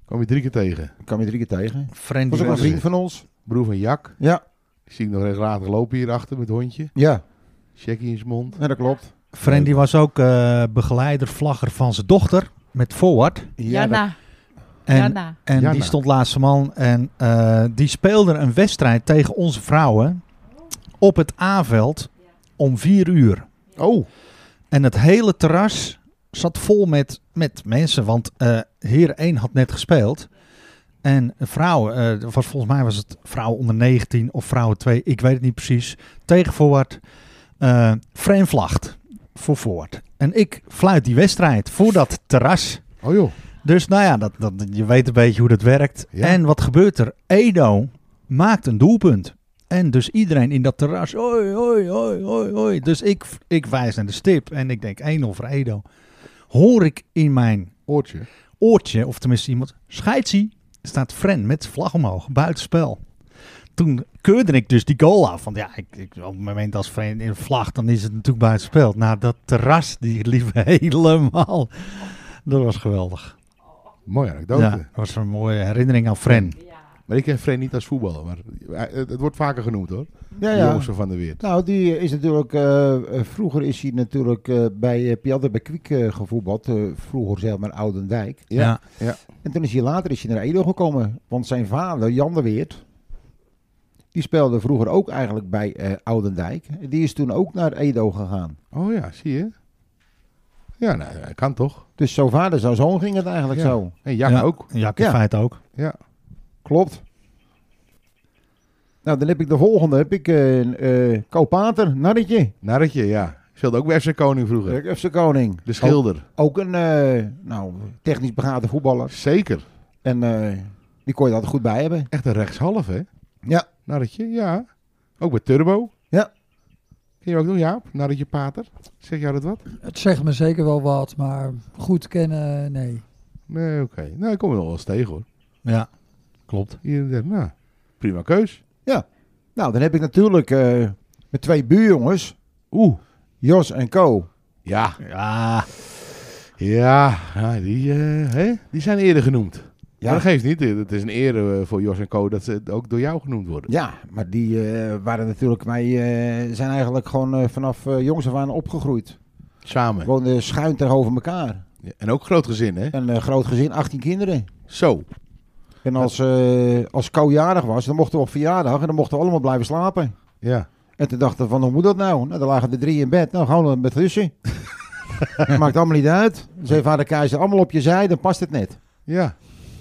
Kom je drie keer tegen.
Ik kan je drie keer tegen.
Friend
Was ook een
Weert.
vriend van ons.
Broer van Jak.
Ja,
Die zie ik nog regelmatig lopen hierachter met het hondje.
ja,
Checkie in zijn mond.
ja, dat klopt.
Frendy was ook eh, begeleider, vlagger van zijn dochter met Forward.
dat-
Jana.
En,
Jana.
en
Jana.
die stond laatste man. En eh, die speelde een wedstrijd tegen onze vrouwen op het A-veld om vier uur.
Oh,
En het hele terras zat vol met, met mensen. Want eh Heer 1 had net gespeeld. En vrouwen, eh, was, volgens mij was het vrouwen onder 19 of vrouwen 2, ik weet het niet precies. Tegen Forward. eh frame vlacht voor Forward. En ik fluit die wedstrijd voor dat terras.
oh joh.
Dus nou ja, dat, dat, je weet een beetje hoe dat werkt.
Ja.
En wat gebeurt er? Edo maakt een doelpunt. En dus iedereen in dat terras, oi, oi, oi, oi, oi. Dus ik, ik wijs naar de stip en ik denk 1-0 voor Edo. Hoor ik in mijn
Oortje.
oortje, of tenminste iemand, scheidsie, staat Fren met zijn vlag omhoog, buitenspel. Toen keurde ik dus die goal af. Want ja, ik, ik, op het moment als Fren in vlag, dan is het natuurlijk buitenspel. Nou, dat terras, die liep helemaal. Dat was geweldig.
Mooie anekdote.
Ja, dat was een mooie herinnering aan Fren.
Maar ik ken Fren niet als voetballer. Maar eh, het het wordt vaker genoemd hoor.
Ja,
De
ja.
jongens van de Weert.
Nou, die is natuurlijk, eh, eh, vroeger is hij natuurlijk eh, bij eh Piander Bekwiek eh, gevoetbald. eh, vroeger zeg maar Oudendijk.
Ja.
Ja.
En toen is hij later is hij naar Edo gekomen. Want zijn vader, Jan de Weert, die speelde vroeger ook eigenlijk bij eh, Oudendijk. Die is toen ook naar Edo gegaan.
Oh ja, zie je. Ja, nou, ja, kan toch.
Dus zo vader, zo zoon ging het eigenlijk
Ja.
zo.
En Jak
Ja.
ook.
Jack in
Ja.
feite ook.
Ja.
Klopt. Nou, dan heb ik de volgende. Heb ik eh eh Kopater, Narretje,
Narretje, ja. Speelde ook bij FC Koning vroeger.
eh, FC Koning.
De schilder.
Ook een eh, nou, technisch begaafde voetballer.
Zeker.
En eh, die kon je altijd goed bij hebben.
Echt een rechtshalf, hè?
Ja.
Narretje, ja. Ook bij Turbo.
Ja.
Ken je ook nog, Jaap? Narretje Pater. Zeg jou dat wat?
Het zegt me zeker wel wat, maar goed kennen, nee.
Nee, oké. Nou, ik kom er nog wel eens tegen, hoor.
Ja, klopt.
Hier en daar. Nou, prima keus.
Nou, dan heb ik natuurlijk eh, mijn twee buurjongens,
Oeh.
Jos en Co.
Ja,
Ja,
ja, ja, die, eh, hè? die zijn eerder genoemd. Maar dat geeft niet. Het is een eer eh, voor Jos en Co dat ze ook door jou genoemd worden.
Ja, maar die eh, waren natuurlijk, wij eh, zijn eigenlijk gewoon eh, vanaf eh, jongs af aan opgegroeid.
Samen.
Woonden schuin tegenover elkaar.
Ja, En ook groot gezin, hè?
Een eh, groot gezin, 18 kinderen.
Zo.
En als, eh als Co jarig was, dan mochten we op verjaardag en dan mochten we allemaal blijven slapen.
Ja.
En toen dachten we van, hoe moet dat nou? Nou, dan lagen er drie in bed. Nou, gewoon met russen. Maakt allemaal niet uit. Zei vader Keizer, allemaal op je zij, dan past het net.
Ja.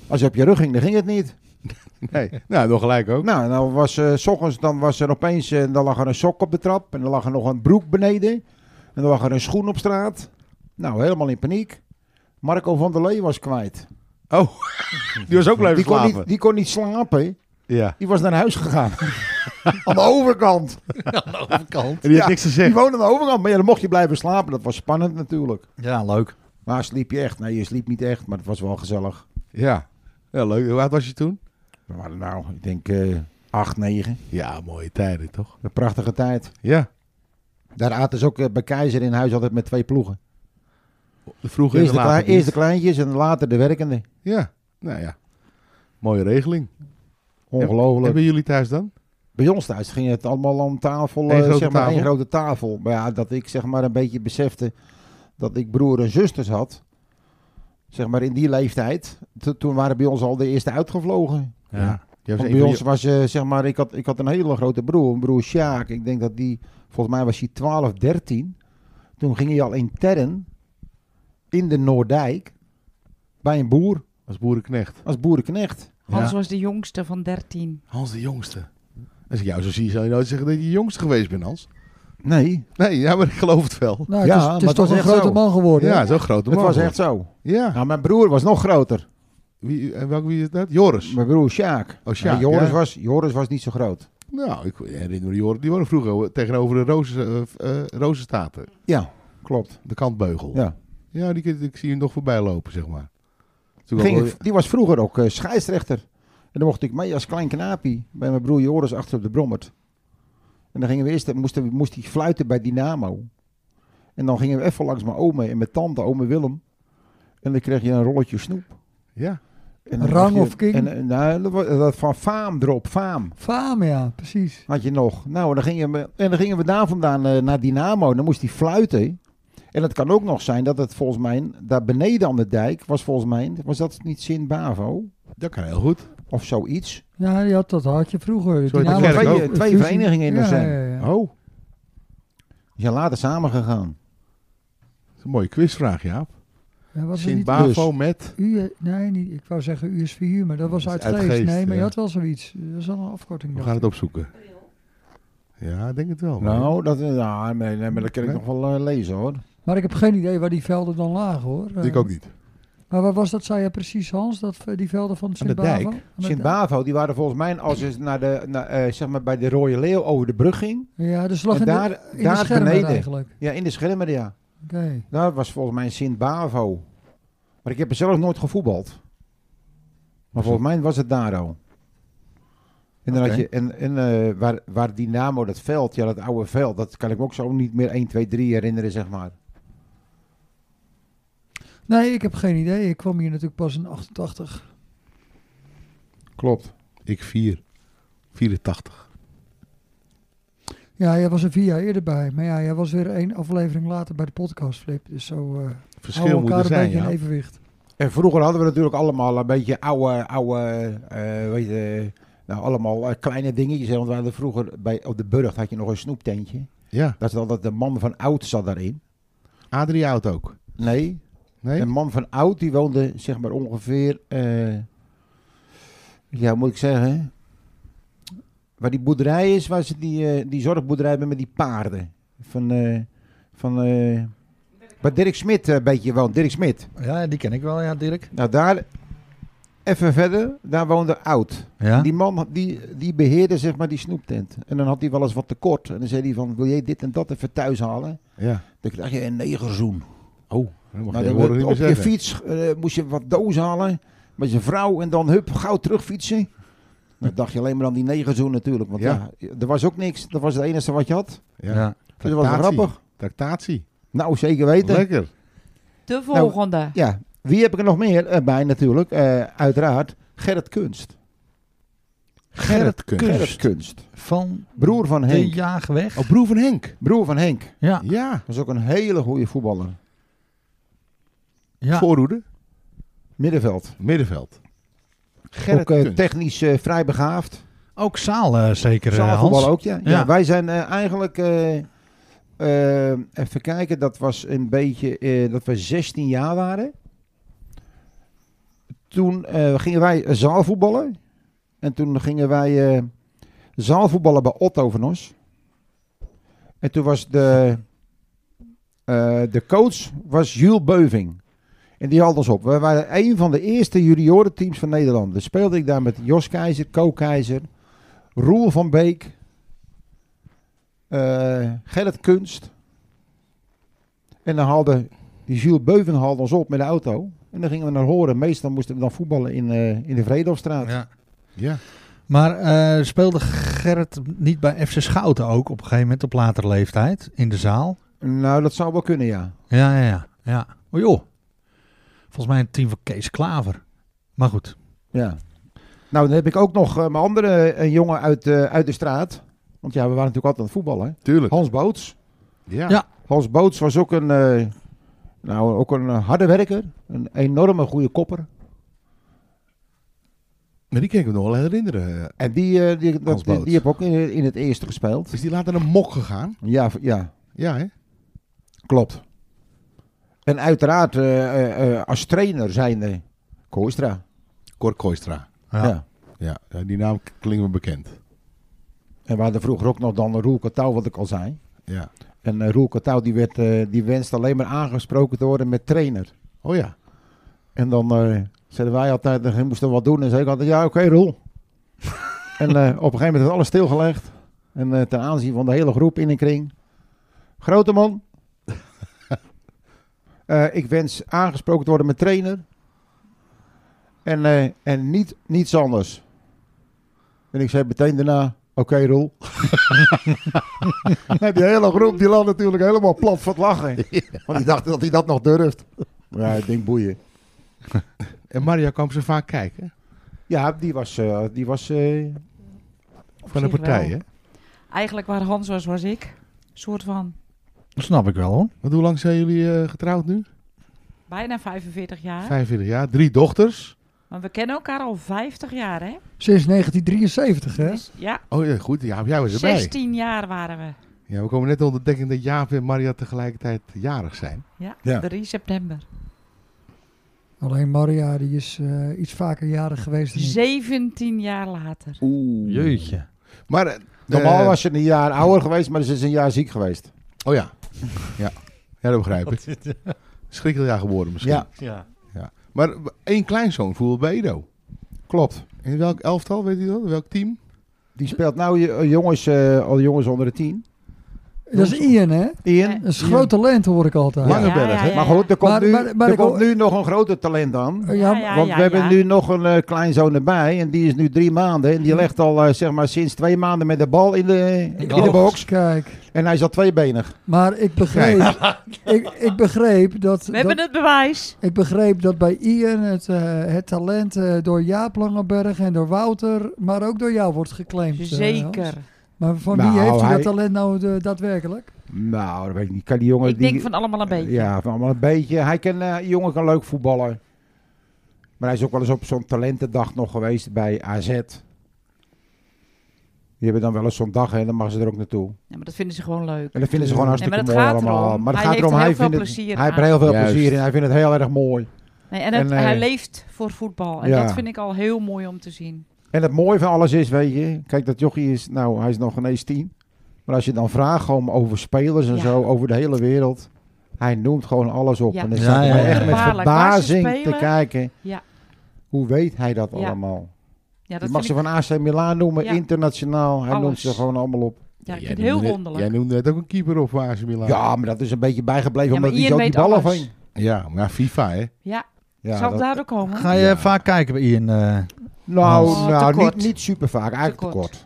Als je op je rug ging, dan ging het niet.
Nee. nou, nog gelijk ook.
Nou, dan was eh, s ochtends, dan was er opeens, eh, dan lag er een sok op de trap en dan lag er nog een broek beneden. En dan lag er een schoen op straat. Nou, helemaal in paniek. Marco van der Lee was kwijt.
Oh, die was ook blijven
Die kon,
slapen.
niet, die kon niet slapen.
Ja.
Die was naar huis gegaan. aan de overkant.
En die had
Ja.
niks
Die
gezegd.
woonde aan de overkant. Maar ja, dan mocht je blijven slapen. Dat was spannend natuurlijk.
ja leuk.
Maar sliep je echt? Nee, je sliep niet echt, maar het was wel gezellig.
Ja. ja. Leuk. Hoe oud was je toen?
We waren nou, ik denk eh acht, negen.
Ja, mooie tijden toch?
Een prachtige tijd.
Ja.
Daar aten ze ook eh, bij Keizer in huis altijd met twee ploegen.
De vroege en
Eerst
de
de,
late
klei-
dienst.
eerst de kleintjes en later de werkende.
Ja. Nou ja. Mooie regeling.
Ongelooflijk.
Hebben jullie thuis dan?
Bij ons thuis ging het allemaal om tafel,
Eén
eh,
grote
zeg maar één
tafel?
grote tafel. Maar ja, dat ik zeg maar een beetje besefte dat ik broer en zusters had. Zeg maar in die leeftijd. To- toen waren bij ons al de eerste uitgevlogen.
Ja. Je
Want
was
bij ons was, eh, zeg maar, ik had, ik had een hele grote broer, een broer Sjaak. Ik denk dat die, volgens mij was hij 12, 13. Toen ging hij al in Terren, in de Noordijk, bij een boer,
als boerenknecht.
als boerenknecht.
Hans
Ja.
was de jongste van 13.
Hans de jongste. Als ik jou zo zie, zou je nooit zeggen dat je de jongste geweest bent, Hans.
Nee,
Nee, ja, maar ik geloof het wel.
Nou,
Ja,
het is,
maar
het is
het
toch
was
een
echt
grote
zo.
man geworden.
Ja, zo groot.
het was echt zo.
Ja.
Nou, mijn broer was nog groter.
Wie, en welke wie is dat? Joris.
Mijn broer Sjaak.
Oh, Sjaak,
Ja, Joris,
ja.
was, Joris was niet zo groot.
Nou, ik herinner me Joris. Die woonde vroeger tegenover de Rozen, eh, eh, Rozenstaten.
Ja, klopt.
De kantbeugel.
Ja.
Ja, die, ik zie hem nog voorbij lopen, zeg maar. Toen
Ging
wel-
ik- die was vroeger ook eh, scheidsrechter. En dan mocht ik mee als klein knaapie bij mijn broer Joris achter op de brommert. En dan gingen we eerst, eh, moesten, we- moest hij fluiten bij Dynamo. En dan gingen we even langs mijn oma en mijn tante, oma Willem. En dan kreeg je een rolletje snoep.
Ja.
En dan
Rang
mocht je-
of king?
En, en, nou, dat was- dat van faam erop, faam.
Faam, ja, precies.
had je nog. Nou, en dan gingen we, en dan gingen we daar vandaan eh, naar Dynamo. Dan moest hij fluiten. En het kan ook nog zijn dat het volgens mij, daar beneden aan de dijk, was volgens mij, was dat niet Sint-Bavo
Dat kan heel goed.
of zoiets?
Ja, die had, dat had je vroeger.
Zo heet de
Dynamo-
Er
kerk
twee,
ook.
twee
fusie.
verenigingen in
ja,
er zijn.
ja, ja.
Oh,
Die zijn later samengegaan.
dat is een mooie quizvraag, Jaap.
Ja, was het
Sint
niet
dus?
Bavo met...
U, nee, niet, ik wou zeggen USVU, maar dat was
Dat
uit
is
Geest.
uit Geest,
nee, maar je
ja.
had wel zoiets. Dat is wel een afkorting.
We
dacht
gaan
ik.
het opzoeken. Ja, ik denk het wel. man.
Nou, dat, ja, nee, nee, maar dat kan ik nog wel eh, lezen hoor.
Maar ik heb geen idee waar die velden dan lagen hoor. Eh,
ik ook niet.
Maar waar was dat, zei je precies Hans, dat, eh, die velden van
de
Sint-Bavo?
dijk.
Aan de
Sint-Bavo, die waren volgens mij als je naar de, naar, eh, zeg maar bij de Rode Leeuw over de brug ging.
dijk. Ja, dus lag
En
in
daar-
de, in
daar
de schermen
beneden.
eigenlijk.
Ja, in de schermen, ja.
Oké.
Dat was volgens mij Sint-Bavo. Maar ik heb er zelf nooit gevoetbald. Maar volgens mij was het daar al. En, dan had
Oké.
je, en, en eh, waar, waar Dynamo, dat veld, ja, dat oude veld, dat kan ik me ook zo niet meer 1, 2, 3 herinneren, zeg maar.
Nee, ik heb geen idee. Ik kwam hier natuurlijk pas in 88.
Klopt.
Ik 4. 84.
Ja, jij was er vier jaar eerder bij. Maar ja, jij was weer één aflevering later bij de podcast Flip. Dus zo eh
Verschil
houden we
moet
elkaar
er
een
zijn,
beetje in
ja.
evenwicht.
En vroeger hadden we natuurlijk allemaal een beetje oude, oude eh, weet je, nou, allemaal eh, kleine dingetjes. hè. Want we hadden vroeger, bij, op de Burg had je nog een snoeptentje.
Ja,
Daar zat altijd de man van oud zat daarin.
Adrie Oud ook.
Nee,
Nee?
Een man van oud, die woonde zeg maar ongeveer, eh, ja, hoe moet ik zeggen, waar die boerderij is, waar ze die, eh, die zorgboerderij hebben met die paarden. Van, eh, van eh, waar Dirk Smit eh, een beetje woont, Dirk Smit.
Ja, die ken ik wel, ja, Dirk.
Nou, daar, even verder, daar woonde oud.
Ja?
Die man, had- die, die beheerde zeg maar die snoeptent. En dan had hij wel eens wat tekort. En dan zei hij van, wil jij dit en dat even thuis halen?
Ja.
Dan krijg je een negerzoen.
Oh, dat mag
Nou,
je
dan
woorden niet meer
op je
zeggen.
fiets eh, moest je wat dozen halen met zijn vrouw en dan hup, gauw terugfietsen. Dan dacht je alleen maar aan die negerzoen natuurlijk, want ja.
Ja.
er was ook niks. Dat was het enige wat je had.
Ja.
Dus dat was wel
Tractatie.
grappig.
Tractatie.
Nou, zeker weten.
Lekker.
De volgende.
Nou, Ja, wie heb ik er nog meer Eh, bij natuurlijk? Eh, uiteraard Gerrit Kunst.
Gerrit Kunst.
Gerrit Kunst.
Van
Broer van
de
Henk.
jaagweg.
Oh, broer van Henk.
Broer van Henk.
Ja,
Ja.
Was ook een hele goede voetballer.
ja.
Voorhoede.
Middenveld.
Middenveld.
Ook eh,
Kunst.
technisch eh, vrij begaafd.
ook zaal eh, zeker, eh,
Zaalvoetbal
Hans.
ook, ja. ja.
Ja.
wij zijn eh, eigenlijk... eh, eh, even kijken, dat was een beetje... eh, dat we 16 jaar waren. Toen eh, gingen wij zaalvoetballen. En toen gingen wij eh, zaalvoetballen bij Otto van Os. En toen was de, eh, de coach was Jules Beuving. En die had ons op. We waren een van de eerste juniorenteams van Nederland. Dus speelde ik daar met Jos Keizer, Co Keizer, Roel van Beek, eh Gerrit Kunst. En dan haalde die Jules Beuving haalde ons op met de auto. En dan gingen we naar Horen. Meestal moesten we dan voetballen in, eh, in de Vredelstraat.
Ja.
Ja.
Maar eh, speelde Gerrit niet bij FC Schouten ook op een gegeven moment op latere leeftijd in de zaal?
Nou, dat zou wel kunnen, ja.
Ja, ja, ja. ja. O joh. Volgens mij een team van Kees Klaver. Maar goed.
ja. Nou, dan heb ik ook nog eh, mijn andere eh, jongen uit, eh, uit de straat. Want ja, we waren natuurlijk altijd aan het voetballen. hè.
Tuurlijk.
Hans Boots.
Ja.
Ja.
Hans Boots was ook een, eh, nou, ook een eh, harde werker. Een enorme goede kopper.
Maar die kan ik me nog wel herinneren. Eh,
En die, eh, die, dat,
Hans
die,
Boots.
die heb ook in, in het eerste gespeeld.
Is die later naar Mok gegaan?
Ja, v- ja
Ja, hè?
klopt. En uiteraard eh, eh, eh, als trainer zijn de Koistra.
Cor Kooistra.
Ja.
ja.
Ja, ja, die naam k- klinkt me bekend.
En we hadden vroeger ook nog dan Roel Katouw, wat ik al zei.
Ja.
En eh, Roel Katouw die, werd, eh, die wenste alleen maar aangesproken te worden met trainer.
Oh ja.
En dan eh, zeiden wij altijd, eh, hij moest er wat doen. En zei ik altijd, ja oké Roel. en eh, op een gegeven moment is alles stilgelegd. En eh, ten aanzien van de hele groep in een kring. Grote man. Eh, ik wens aangesproken te worden met trainer. En, eh, en niet, niets anders. En ik zei meteen daarna, oké Roel. en die hele groep die lag natuurlijk helemaal plat van het lachen. Want die dacht dat hij dat nog durft. Maar ja, ik denk boeien.
En Mario kwam ze vaak kijken.
Ja, die was, eh, die was eh,
Op
Van de
zich
partij,
wel.
hè?
Eigenlijk waar Hans was, was ik. soort van
Dat snap ik wel hoor.
Want hoe lang zijn jullie eh, getrouwd nu?
bijna 45 jaar.
45 jaar. Drie dochters.
Maar we kennen elkaar al 50 jaar, hè?
Sinds 1973, hè?
Dus ja,
Oh ja, goed. Ja, jij was erbij.
16 jaar waren we.
Ja, we komen net onder dekking dat Jaap en Maria tegelijkertijd jarig zijn.
Ja.
3 september.
Alleen Maria, die is eh, iets vaker jarig geweest dan ik.
17 jaar later.
Oeh.
Jeetje.
Maar... eh,
normaal
eh,
was ze een jaar ouder geweest, maar ze is een jaar ziek geweest.
Oh ja. Ja, ja dat begrijp ik. Schrikkeljaar geworden misschien.
Ja,
Ja.
Maar eh, één kleinzoon voelde bij Edo.
klopt.
In welk elftal, weet u dat? Welk team?
Die speelt nou j- eh, jongens, eh, al jongens onder de tien.
Dat is Ian, hè?
Ian.
Ja.
Dat is
Ian.
groot talent, hoor ik altijd.
Lange berg, hè?
Maar goed, er komt,
Maar-
nu,
maar- maar
er
ik
komt
hoor-
nu nog een groter talent aan.
Eh, ja,
ja,
Want
ja,
we hebben
ja.
nu nog een eh, kleinzoon erbij. En die is nu drie maanden. En die
Hm.
legt al eh, zeg maar, sinds twee maanden met de bal in de, in de
Oh.
box.
Kijk,
En hij is al tweebenig.
maar ik begreep, ik, ik begreep dat...
We hebben
dat-
het bewijs.
Ik begreep dat bij Ian het, eh, het talent eh, door Jaap Langenberg en door Wouter, maar ook door jou wordt geclaimd. eh,
Zeker.
Hans. maar van
Nou,
wie heeft hij
hij-
dat talent nou eh, daadwerkelijk?
Nou, dat weet ik niet. Kan die jongen
Ik
die,
denk van allemaal een beetje.
Ja, van allemaal een beetje. Hij kan, eh, die jongen kan leuk voetballen. Maar hij is ook wel eens op zo'n talentendag nog geweest bij AZ. Die hebben dan wel eens zo'n dag en dan mag ze er ook naartoe.
Ja, maar dat vinden ze gewoon leuk.
En dat vinden ze gewoon
Nee,
hartstikke
maar dat
mooi
gaat
allemaal.
erom.
Maar het
Hij
gaat erom,
heeft er heel
hij
veel
vindt het,
plezier
hij heeft er
aan.
heel veel
Juist.
plezier in. Hij vindt het heel erg mooi.
Nee, en, het-
En, eh,
hij leeft voor voetbal. En
ja.
dat vind ik al heel mooi om te zien.
En het mooie van alles is, weet je, kijk dat jochie is, nou hij is nog ineens tien. Maar als je dan vraagt om over spelers en
Ja.
zo, over de hele wereld. Hij noemt gewoon alles op.
Ja.
En dan
Ja,
staat
ja,
hij
ja.
echt met
Gevaarlijk. Waar ze
verbazing te
spelen.
kijken.
Ja.
Hoe weet hij dat
Ja.
allemaal?
Ja,
Je
dat
mag ze
vind ik,
van AC Milan noemen,
Ja.
internationaal. Hij
Alles.
noemt ze gewoon allemaal op.
ja, ik vind
Jij
het
noemde
heel
net-
wonderlijk.
Jij noemde net ook een keeper op voor AC Milan.
Ja, maar dat is een beetje bijgebleven
Ja, maar
omdat hij
Ian
zo die
weet
ballen
alles.
ving.
Ja, maar FIFA, hè?
ja,
Ja,
zal
dat-
het daardoor komen?
Ga je
Ja.
vaak kijken bij Ian? eh?
nou,
Oh,
nou
tekort.
niet, niet super vaak. Eigenlijk
Tekort.
tekort.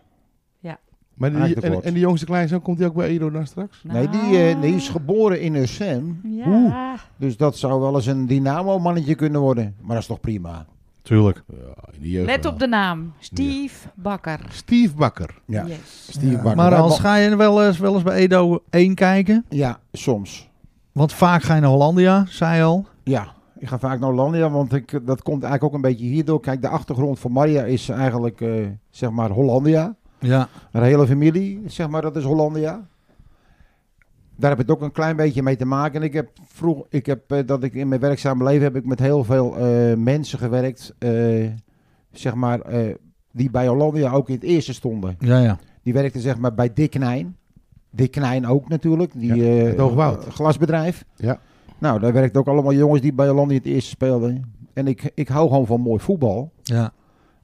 Maar die,
Eigenlijk
en,
wat.
en die jongste kleinzoon, komt die ook bij Edo dan straks?
Nee, die, eh, nee, die is geboren in Ussem.
Nou. Ja.
Dus dat zou wel eens een dynamo-mannetje kunnen worden. Maar dat is toch prima.
Tuurlijk.
Ja, in die jeugd
Let
wel.
op de naam. Steve Bakker.
Steve Bakker.
Ja.
Yes.
Steve Bakker.
Maar
Wij
als
mo-
ga je wel eens, wel eens bij Edo 1 kijken,
Ja, soms.
want vaak ga je naar Hollandia, zei al.
Ja, ik ga vaak naar Hollandia, want ik, dat komt eigenlijk ook een beetje hierdoor. Kijk, de achtergrond van Maria is eigenlijk, eh, zeg maar, Hollandia.
Ja.
Haar hele familie, zeg maar, dat is Hollandia. Daar heb ik het ook een klein beetje mee te maken. En ik heb vroeg, ik heb, eh, dat ik in mijn werkzame leven heb ik met heel veel eh, mensen gewerkt, eh, zeg maar, eh, die bij Hollandia ook in het eerste stonden.
Ja, ja.
Die werkte zeg maar bij Dick Knijn. Dick Knijn ook natuurlijk. Die,
Ja,
eh,
het Hoogwoud.
Glasbedrijf.
Ja.
Nou, daar werkten ook allemaal jongens die bij Hollandia het eerste speelden. En ik, ik hou gewoon van mooi voetbal.
Ja.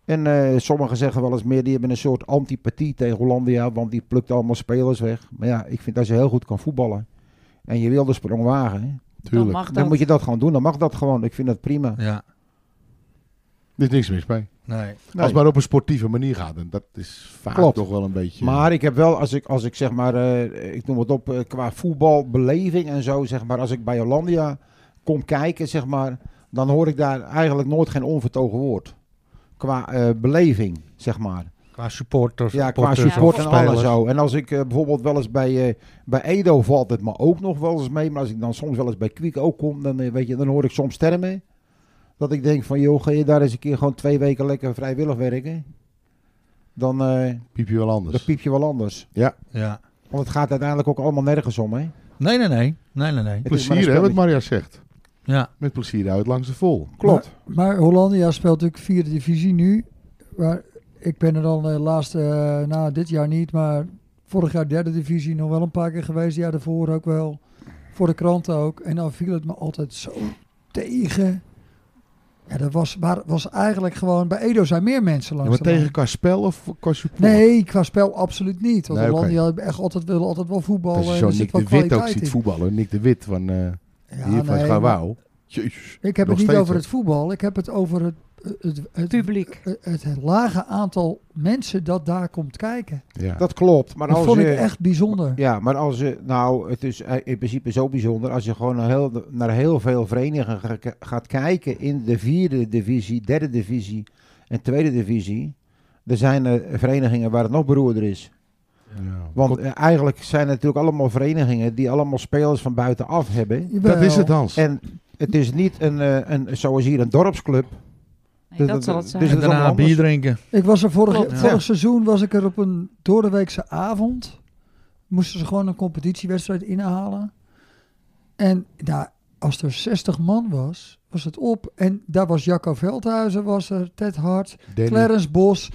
En eh, sommigen zeggen wel eens meer, die hebben een soort antipathie tegen Hollandia, want die plukt allemaal spelers weg. Maar ja, ik vind dat ze heel goed kan voetballen. En je wil de sprong wagen, hè,
Dan
Tuurlijk.
mag
dan
dat.
moet je dat gewoon doen. Dan mag dat gewoon. Ik vind dat prima.
Ja.
Er is niks mis bij.
Nee.
Nee.
Als het maar op een sportieve manier gaat. En dat is vaak
Klopt.
toch wel een beetje...
Maar ik heb wel, als ik, als ik zeg maar, eh, ik noem het op, eh, qua voetbalbeleving en zo, zeg maar, als ik bij Hollandia kom kijken, zeg maar, dan hoor ik daar eigenlijk nooit geen onvertogen woord. Qua eh, beleving, zeg maar.
Qua supporters.
Ja, qua
supporters
support
of
en alles
spelers.
zo. En als ik eh, bijvoorbeeld wel eens bij, eh, bij Edo valt het me ook nog wel eens mee. Maar als ik dan soms wel eens bij Kwiek ook kom, dan, eh, weet je, dan hoor ik soms termen. Dat ik denk van, joh, ga je daar eens een keer gewoon twee weken lekker vrijwillig werken? Dan, eh
Piep je wel
dan
anders.
piep je wel anders.
Ja.
Want het gaat uiteindelijk ook allemaal nergens om, hè?
Nee, nee, nee. Nee, nee, nee.
Het is maar een
plezier, hè, wat
spelletje.
Maria zegt.
Ja.
Met plezier uit langs de vol.
Klopt.
Maar Hollandia speelt natuurlijk vierde divisie nu. Maar ik ben er dan de laatste, eh, nou dit jaar niet, maar vorig jaar derde divisie nog wel een paar keer geweest. Ja, daarvoor ook wel. Voor de kranten ook. En dan viel het me altijd zo tegen. Ja, dat was, maar het was eigenlijk gewoon... Bij Edo zijn meer mensen
Ja,
langs
maar
de lijn.
tegen qua spel of qua support?
Nee, qua spel absoluut niet. Want
Nee, oké.
Hollandia hebben echt altijd, willen altijd wel voetballen.
Als je
en
zo
eh, er zit
Nick
wel
de Wit ook
kwaliteit
ziet
in.
voetballen. Nick de Wit van, eh
Ja,
hier, van
nee,
Gawau. Jezus.
Ik heb het
Nog
niet
steeds,
over
hè?
het voetbal. Ik heb het over het, het, het,
Publiek.
het, het lage aantal mensen dat daar komt kijken.
Ja.
Dat klopt. Maar
Dat
als
vond
je,
ik echt bijzonder.
Ja, maar als je... Nou, het is eh, in principe zo bijzonder. Als je gewoon naar heel, naar heel veel verenigingen ga- ga- gaat kijken... in de vierde divisie, derde divisie en tweede divisie... er zijn eh, verenigingen waar het nog beroerder is.
Ja.
Want eh, eigenlijk zijn het natuurlijk allemaal verenigingen... die allemaal spelers van buitenaf hebben.
dat is het,
dan.
Hans.
En het is niet een, eh, een, zoals hier een dorpsclub.
Nee,
Dus
dat
dat-
zal het zijn.
dus
En
dat- allemaal
daarna bier
anders.
drinken.
Ik was er vorig,
Klopt.
vorig
Ja.
seizoen was ik er op een doordeweekse avond. Moesten ze gewoon een competitiewedstrijd inhalen. En nou, als er 60 man was, was het op. En daar was Jacco Veldhuizen, was er, Ted Hart,
Danny,
Clarence Bos,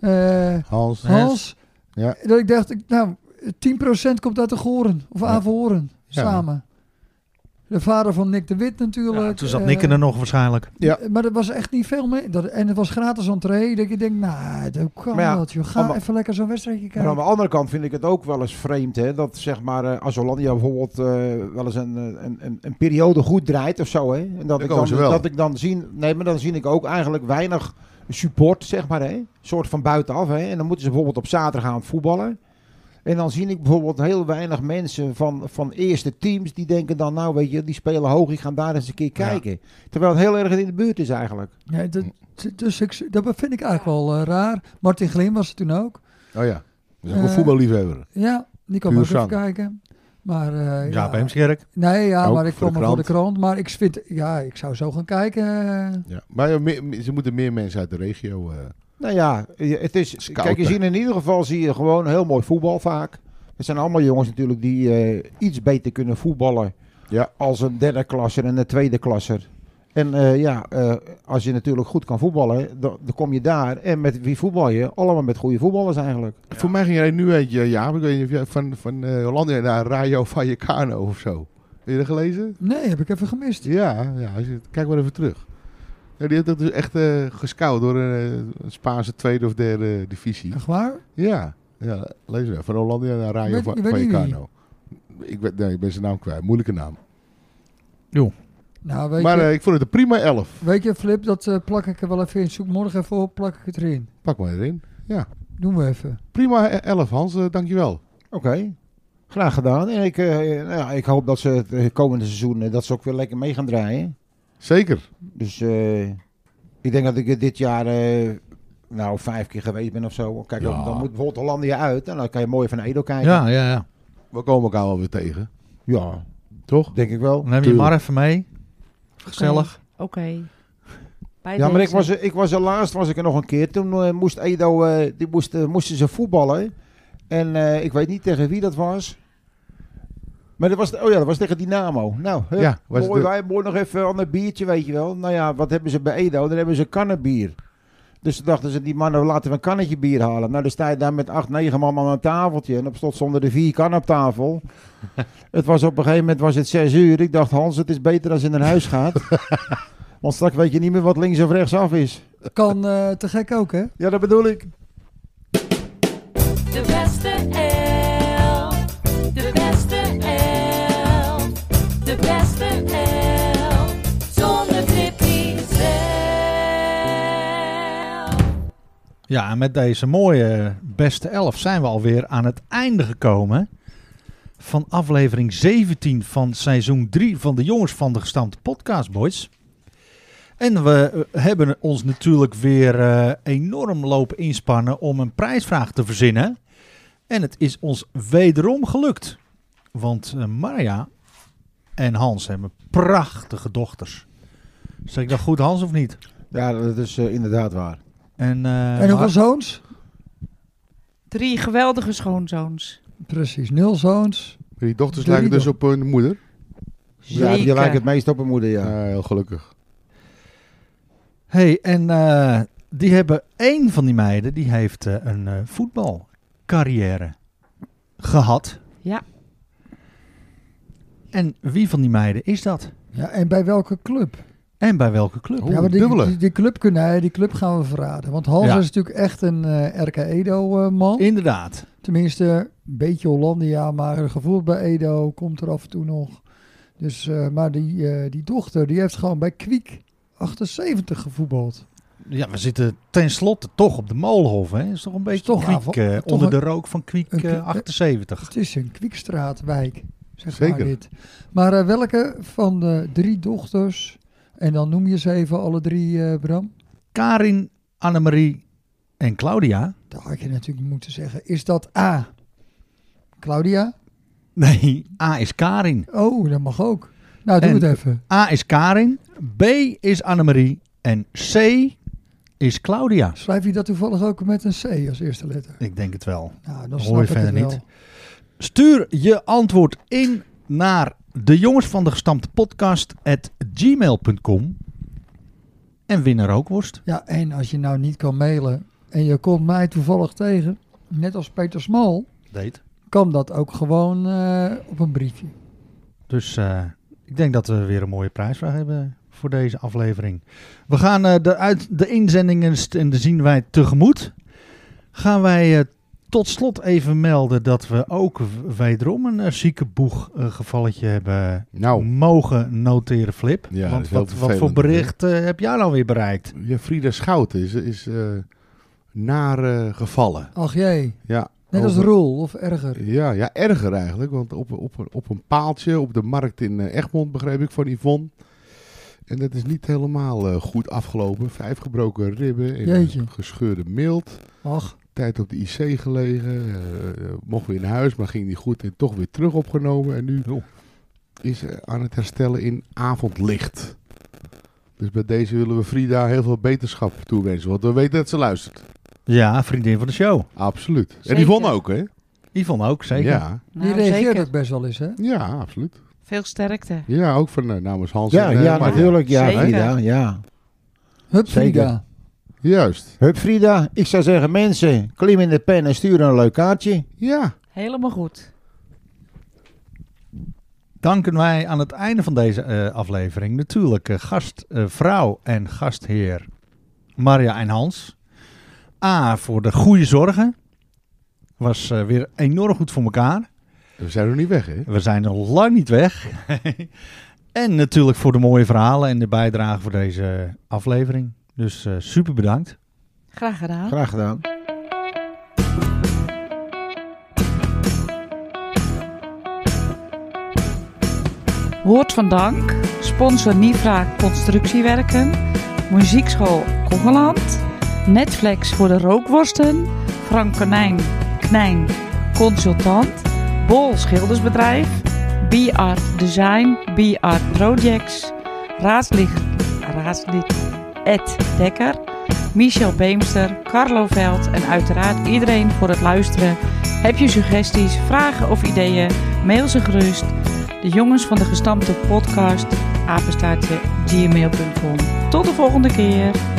eh,
Hans.
Hans.
Ja.
Dat ik dacht, ik- nou, 10% komt uit de Goren of
Ja.
Averhoorn
Ja.
samen. De vader van Nick de Wit natuurlijk.
Ja, toen zat
eh,
Nick er nog waarschijnlijk.
Ja.
Maar er was echt niet veel meer. Dat, en het was gratis entree. Dat je denkt, nou, dat kan
Maar ja,
dat. Joh. Ga
allemaal-
even lekker zo'n wedstrijdje
Maar
kijken.
aan de andere kant vind ik het ook wel eens vreemd. Hè, dat zeg maar, eh, als Hollandia bijvoorbeeld eh, wel eens een, eh, een, een, een periode goed draait of zo. Hè, en dat, ik
komen
dan,
ze wel.
dat ik dan zie. Nee, maar dan zie ik ook eigenlijk weinig support, zeg maar. Hè, een soort van buitenaf. Hè, en dan moeten ze bijvoorbeeld op zaterdag gaan voetballen. En dan zie ik bijvoorbeeld heel weinig mensen van, van eerste teams die denken dan, nou weet je, die spelen hoog, ik ga daar eens een keer
Ja.
kijken. Terwijl het heel erg in de buurt is eigenlijk.
Nee, dat, dus ik, dat vind ik eigenlijk wel eh, raar. Martin Glim was het toen ook.
Oh ja. Dat is ook
Eh,
een voetballiefhebber.
Ja, die kwam
Puur
ook even
zang.
kijken. Maar, eh,
Ja, bij Heemskerk.
Nee, ja,
Ook
maar ik
voor de
kwam er voor de
krant.
krant. Maar ik vind, ja, ik zou zo gaan kijken. eh.
Ja. Maar ja, meer- meer- ze moeten meer mensen uit de regio... eh,
Nou ja, je- het is.
Scouten.
Kijk, je ziet in ieder geval zie je gewoon heel mooi voetbal vaak. Het zijn allemaal jongens natuurlijk die eh, iets beter kunnen voetballen
Ja.
als een derde klasser en een tweede klasser. En eh, ja, eh, als je natuurlijk goed kan voetballen, dan, dan kom je daar. En met wie voetbal je? Allemaal met goede voetballers eigenlijk.
Voor mij ging er nu eentje, ja, ik weet niet of jij- van, van eh, Hollandia naar Rayo Vallecano of zo. Heb je dat gelezen?
Nee, heb ik even gemist.
Ja, ja als je- kijk maar even terug. Ja, die had dat dus echt eh gescout door een, eh, een Spaanse tweede of derde divisie.
Echt waar?
Ja, ja lees maar. Van Hollandia naar Rayo
Weet-
Va-
je weet niet
Vallecano. Ik, weet, nee, ik ben zijn naam kwijt, moeilijke naam.
Nou, weet
maar
je,
eh, ik vond het een prima elf.
weet je, Flip, dat eh, plak ik er wel even in. Zoek morgen even op, plak ik het erin.
Pak maar erin. Ja,
Doen we even.
Prima, eh, elf Hans, eh, dankjewel.
Oké. Graag gedaan. En ik, eh, nou ja, ik hoop dat ze het eh, komende seizoen eh, dat ze ook weer lekker mee gaan draaien.
Zeker.
Dus eh, ik denk dat ik er dit jaar eh, nou vijf keer geweest ben of zo. Kijk,
Ja.
dan, dan moet bijvoorbeeld Hollandia uit en dan kan je mooi van Edo kijken.
Ja, ja, ja.
We komen elkaar wel weer tegen,
Ja,
toch?
denk ik wel.
Dan neem je
Tuurlijk.
maar even mee. Gezellig.
Oké. Bij
Ja, maar ik
deze.
was, er- ik was er laatst was ik er nog een keer. Toen eh, moest Edo, eh, die moest, eh, moesten ze voetballen. En eh, ik weet niet tegen wie dat was. Maar dat was, oh ja, dat was tegen Dynamo. Nou, hup,
Ja, was
mooi,
de-
wij, mooi nog even aan een biertje, weet je wel. Nou ja, wat hebben ze bij Edo? Dan hebben ze kannenbier. Dus toen dachten ze, die mannen, laten we een kannetje bier halen. Nou, dan sta je daar met acht, negen man aan een tafeltje. En op slot stonden er vier kannen op tafel. het was op een gegeven moment was het zes uur. Ik dacht, Hans, het is beter als je naar huis gaat. Want straks weet je niet meer wat links of rechts af is.
Kan eh, te gek ook, hè?
Ja, dat bedoel ik.
De beste elf. De beste elf. De beste elf. Zonder Tippy zelf.
Ja, en met deze mooie beste elf zijn we alweer aan het einde gekomen. Van aflevering 17 van seizoen 3 van de Jongens van de Gestampte Podcast Boys. En we eh, hebben ons natuurlijk weer eh, enorm lopen inspannen om een prijsvraag te verzinnen. En het is ons wederom gelukt. Want eh, Marja en Hans hebben prachtige dochters. Zeg ik dat goed, Hans, of niet?
Ja, dat is eh, inderdaad waar.
En, eh,
en hoeveel zoons?
Drie geweldige schoonzoons.
Precies, nul zoons.
Maar die dochters
Drie
lijken dus
toch?
op hun moeder.
Ja, die
Zeker.
lijkt het meest op een moeder, ja.
Ja, heel gelukkig.
Hey, en eh, die hebben één van die meiden, die heeft eh, een eh, voetbalcarrière gehad.
Ja.
En wie van die meiden is dat?
Ja, en bij welke club?
En bij welke club?
Oeh,
ja, maar die,
dubbele.
die, die club kunnen, nee, die club gaan we verraden. Want Hans
Ja.
is natuurlijk echt een eh, RK Edo-man.
Inderdaad.
Tenminste, een beetje Hollandia, maar gevoeld bij Edo komt er af en toe nog. Dus, eh, maar die, eh, die dochter, die heeft gewoon bij Kwiek 78 gevoetbald.
Ja, we zitten tenslotte toch op de molenhof. Hè? Is toch een beetje
toch
kwiek,
een-
eh,
toch
onder
een-
de rook van kwiek
een
eh,
kwiek-
78.
Het is een Kwiekstraatwijk, zeg maar
Zeker.
dit. Maar eh, welke van de drie dochters, en dan noem je ze even alle drie, eh, Bram.
Karin, Annemarie en Claudia.
Daar had je natuurlijk moeten zeggen, is dat A? Claudia?
Nee, A is Karin.
Oh, dat mag ook. Nou, doe
En-
het even.
A is Karin, B is Annemarie en C is Claudia.
Schrijf je dat toevallig ook met een C als eerste letter?
Ik denk het wel.
Nou, dan
Hoor
snap
je
ik het
verder
wel.
niet. Stuur je antwoord in naar de jongens van de gestampte podcast at gmail.com en win een rookworst.
Ja, en als je nou niet kan mailen en je komt mij toevallig tegen, net als Peter Smal,
Deed.
kan dat ook gewoon eh, op een briefje.
Dus eh, ik denk dat we weer een mooie prijsvraag hebben voor deze aflevering. We gaan eh, de, uit, de inzendingen st- en de zien wij tegemoet. Gaan wij eh, tot slot even melden dat we ook w- wederom een eh, zieke boeg eh, gevalletje hebben
Nou,
mogen noteren, Flip.
Ja, dat
Want
is heel
wat, wat
vervelend
voor bericht eh, heb jij nou weer bereikt?
ja, Frida Schouten is, is eh, naar eh, gevallen.
Ach jee,
Ja,
net als
over-
Roel of erger.
Ja, ja, erger eigenlijk. Want op, op, op een paaltje op de markt in eh, Egmond, begreep ik van Yvonne. En dat is niet helemaal eh, goed afgelopen. Vijf gebroken ribben, en
Jeetje.
een gescheurde milt.
Ach,
Tijd op de IC gelegen. eh, eh, mocht weer naar huis, maar ging niet goed en toch weer terug opgenomen. En nu
Oh.
Joh.
is ze aan het herstellen in avondlicht. Dus bij deze willen we Frida heel veel beterschap toewensen. Want we weten dat ze luistert.
Ja, vriendin van de show.
Absoluut.
Zeker.
En Yvonne ook, hè?
Yvonne ook, zeker.
Ja,
die
Nou,
reageert
zeker.
ook best wel eens, hè?
ja absoluut.
Veel sterkte.
Ja, ook van eh, namens Hans.
Ja,
en, eh,
ja,
Marja.
natuurlijk. Ja,
Zeker.
Frida. Ja.
Hup,
Zeker.
Frida.
Juist.
Hup Frida, ik zou zeggen mensen, klim in de pen en stuur een leuk kaartje.
Ja.
Helemaal goed.
Danken wij aan het einde van deze eh, aflevering natuurlijk eh, gastvrouw en gastheer Maria en Hans. A, voor de goede zorgen. Was eh, weer enorm goed voor elkaar.
We zijn nog niet weg, hè?
We zijn nog lang niet weg. en natuurlijk voor de mooie verhalen en de bijdrage voor deze aflevering. Dus eh, super bedankt.
Graag gedaan.
Graag gedaan.
Woord van Dank, sponsor Nifra Constructiewerken, Muziekschool Kogeland, Netflix voor de rookworsten, Frank Konijn, Knijn Consultant, Bol Schildersbedrijf, B-Art Design, B-Art Projects, Raadslid, Raadslid Ed Dekker, Michel Beemster, Carlo Veld en uiteraard iedereen voor het luisteren. Heb je suggesties, vragen of ideeën? Mail ze gerust de jongens van de gestampte podcast, apenstaartje gmail.com. Tot de volgende keer.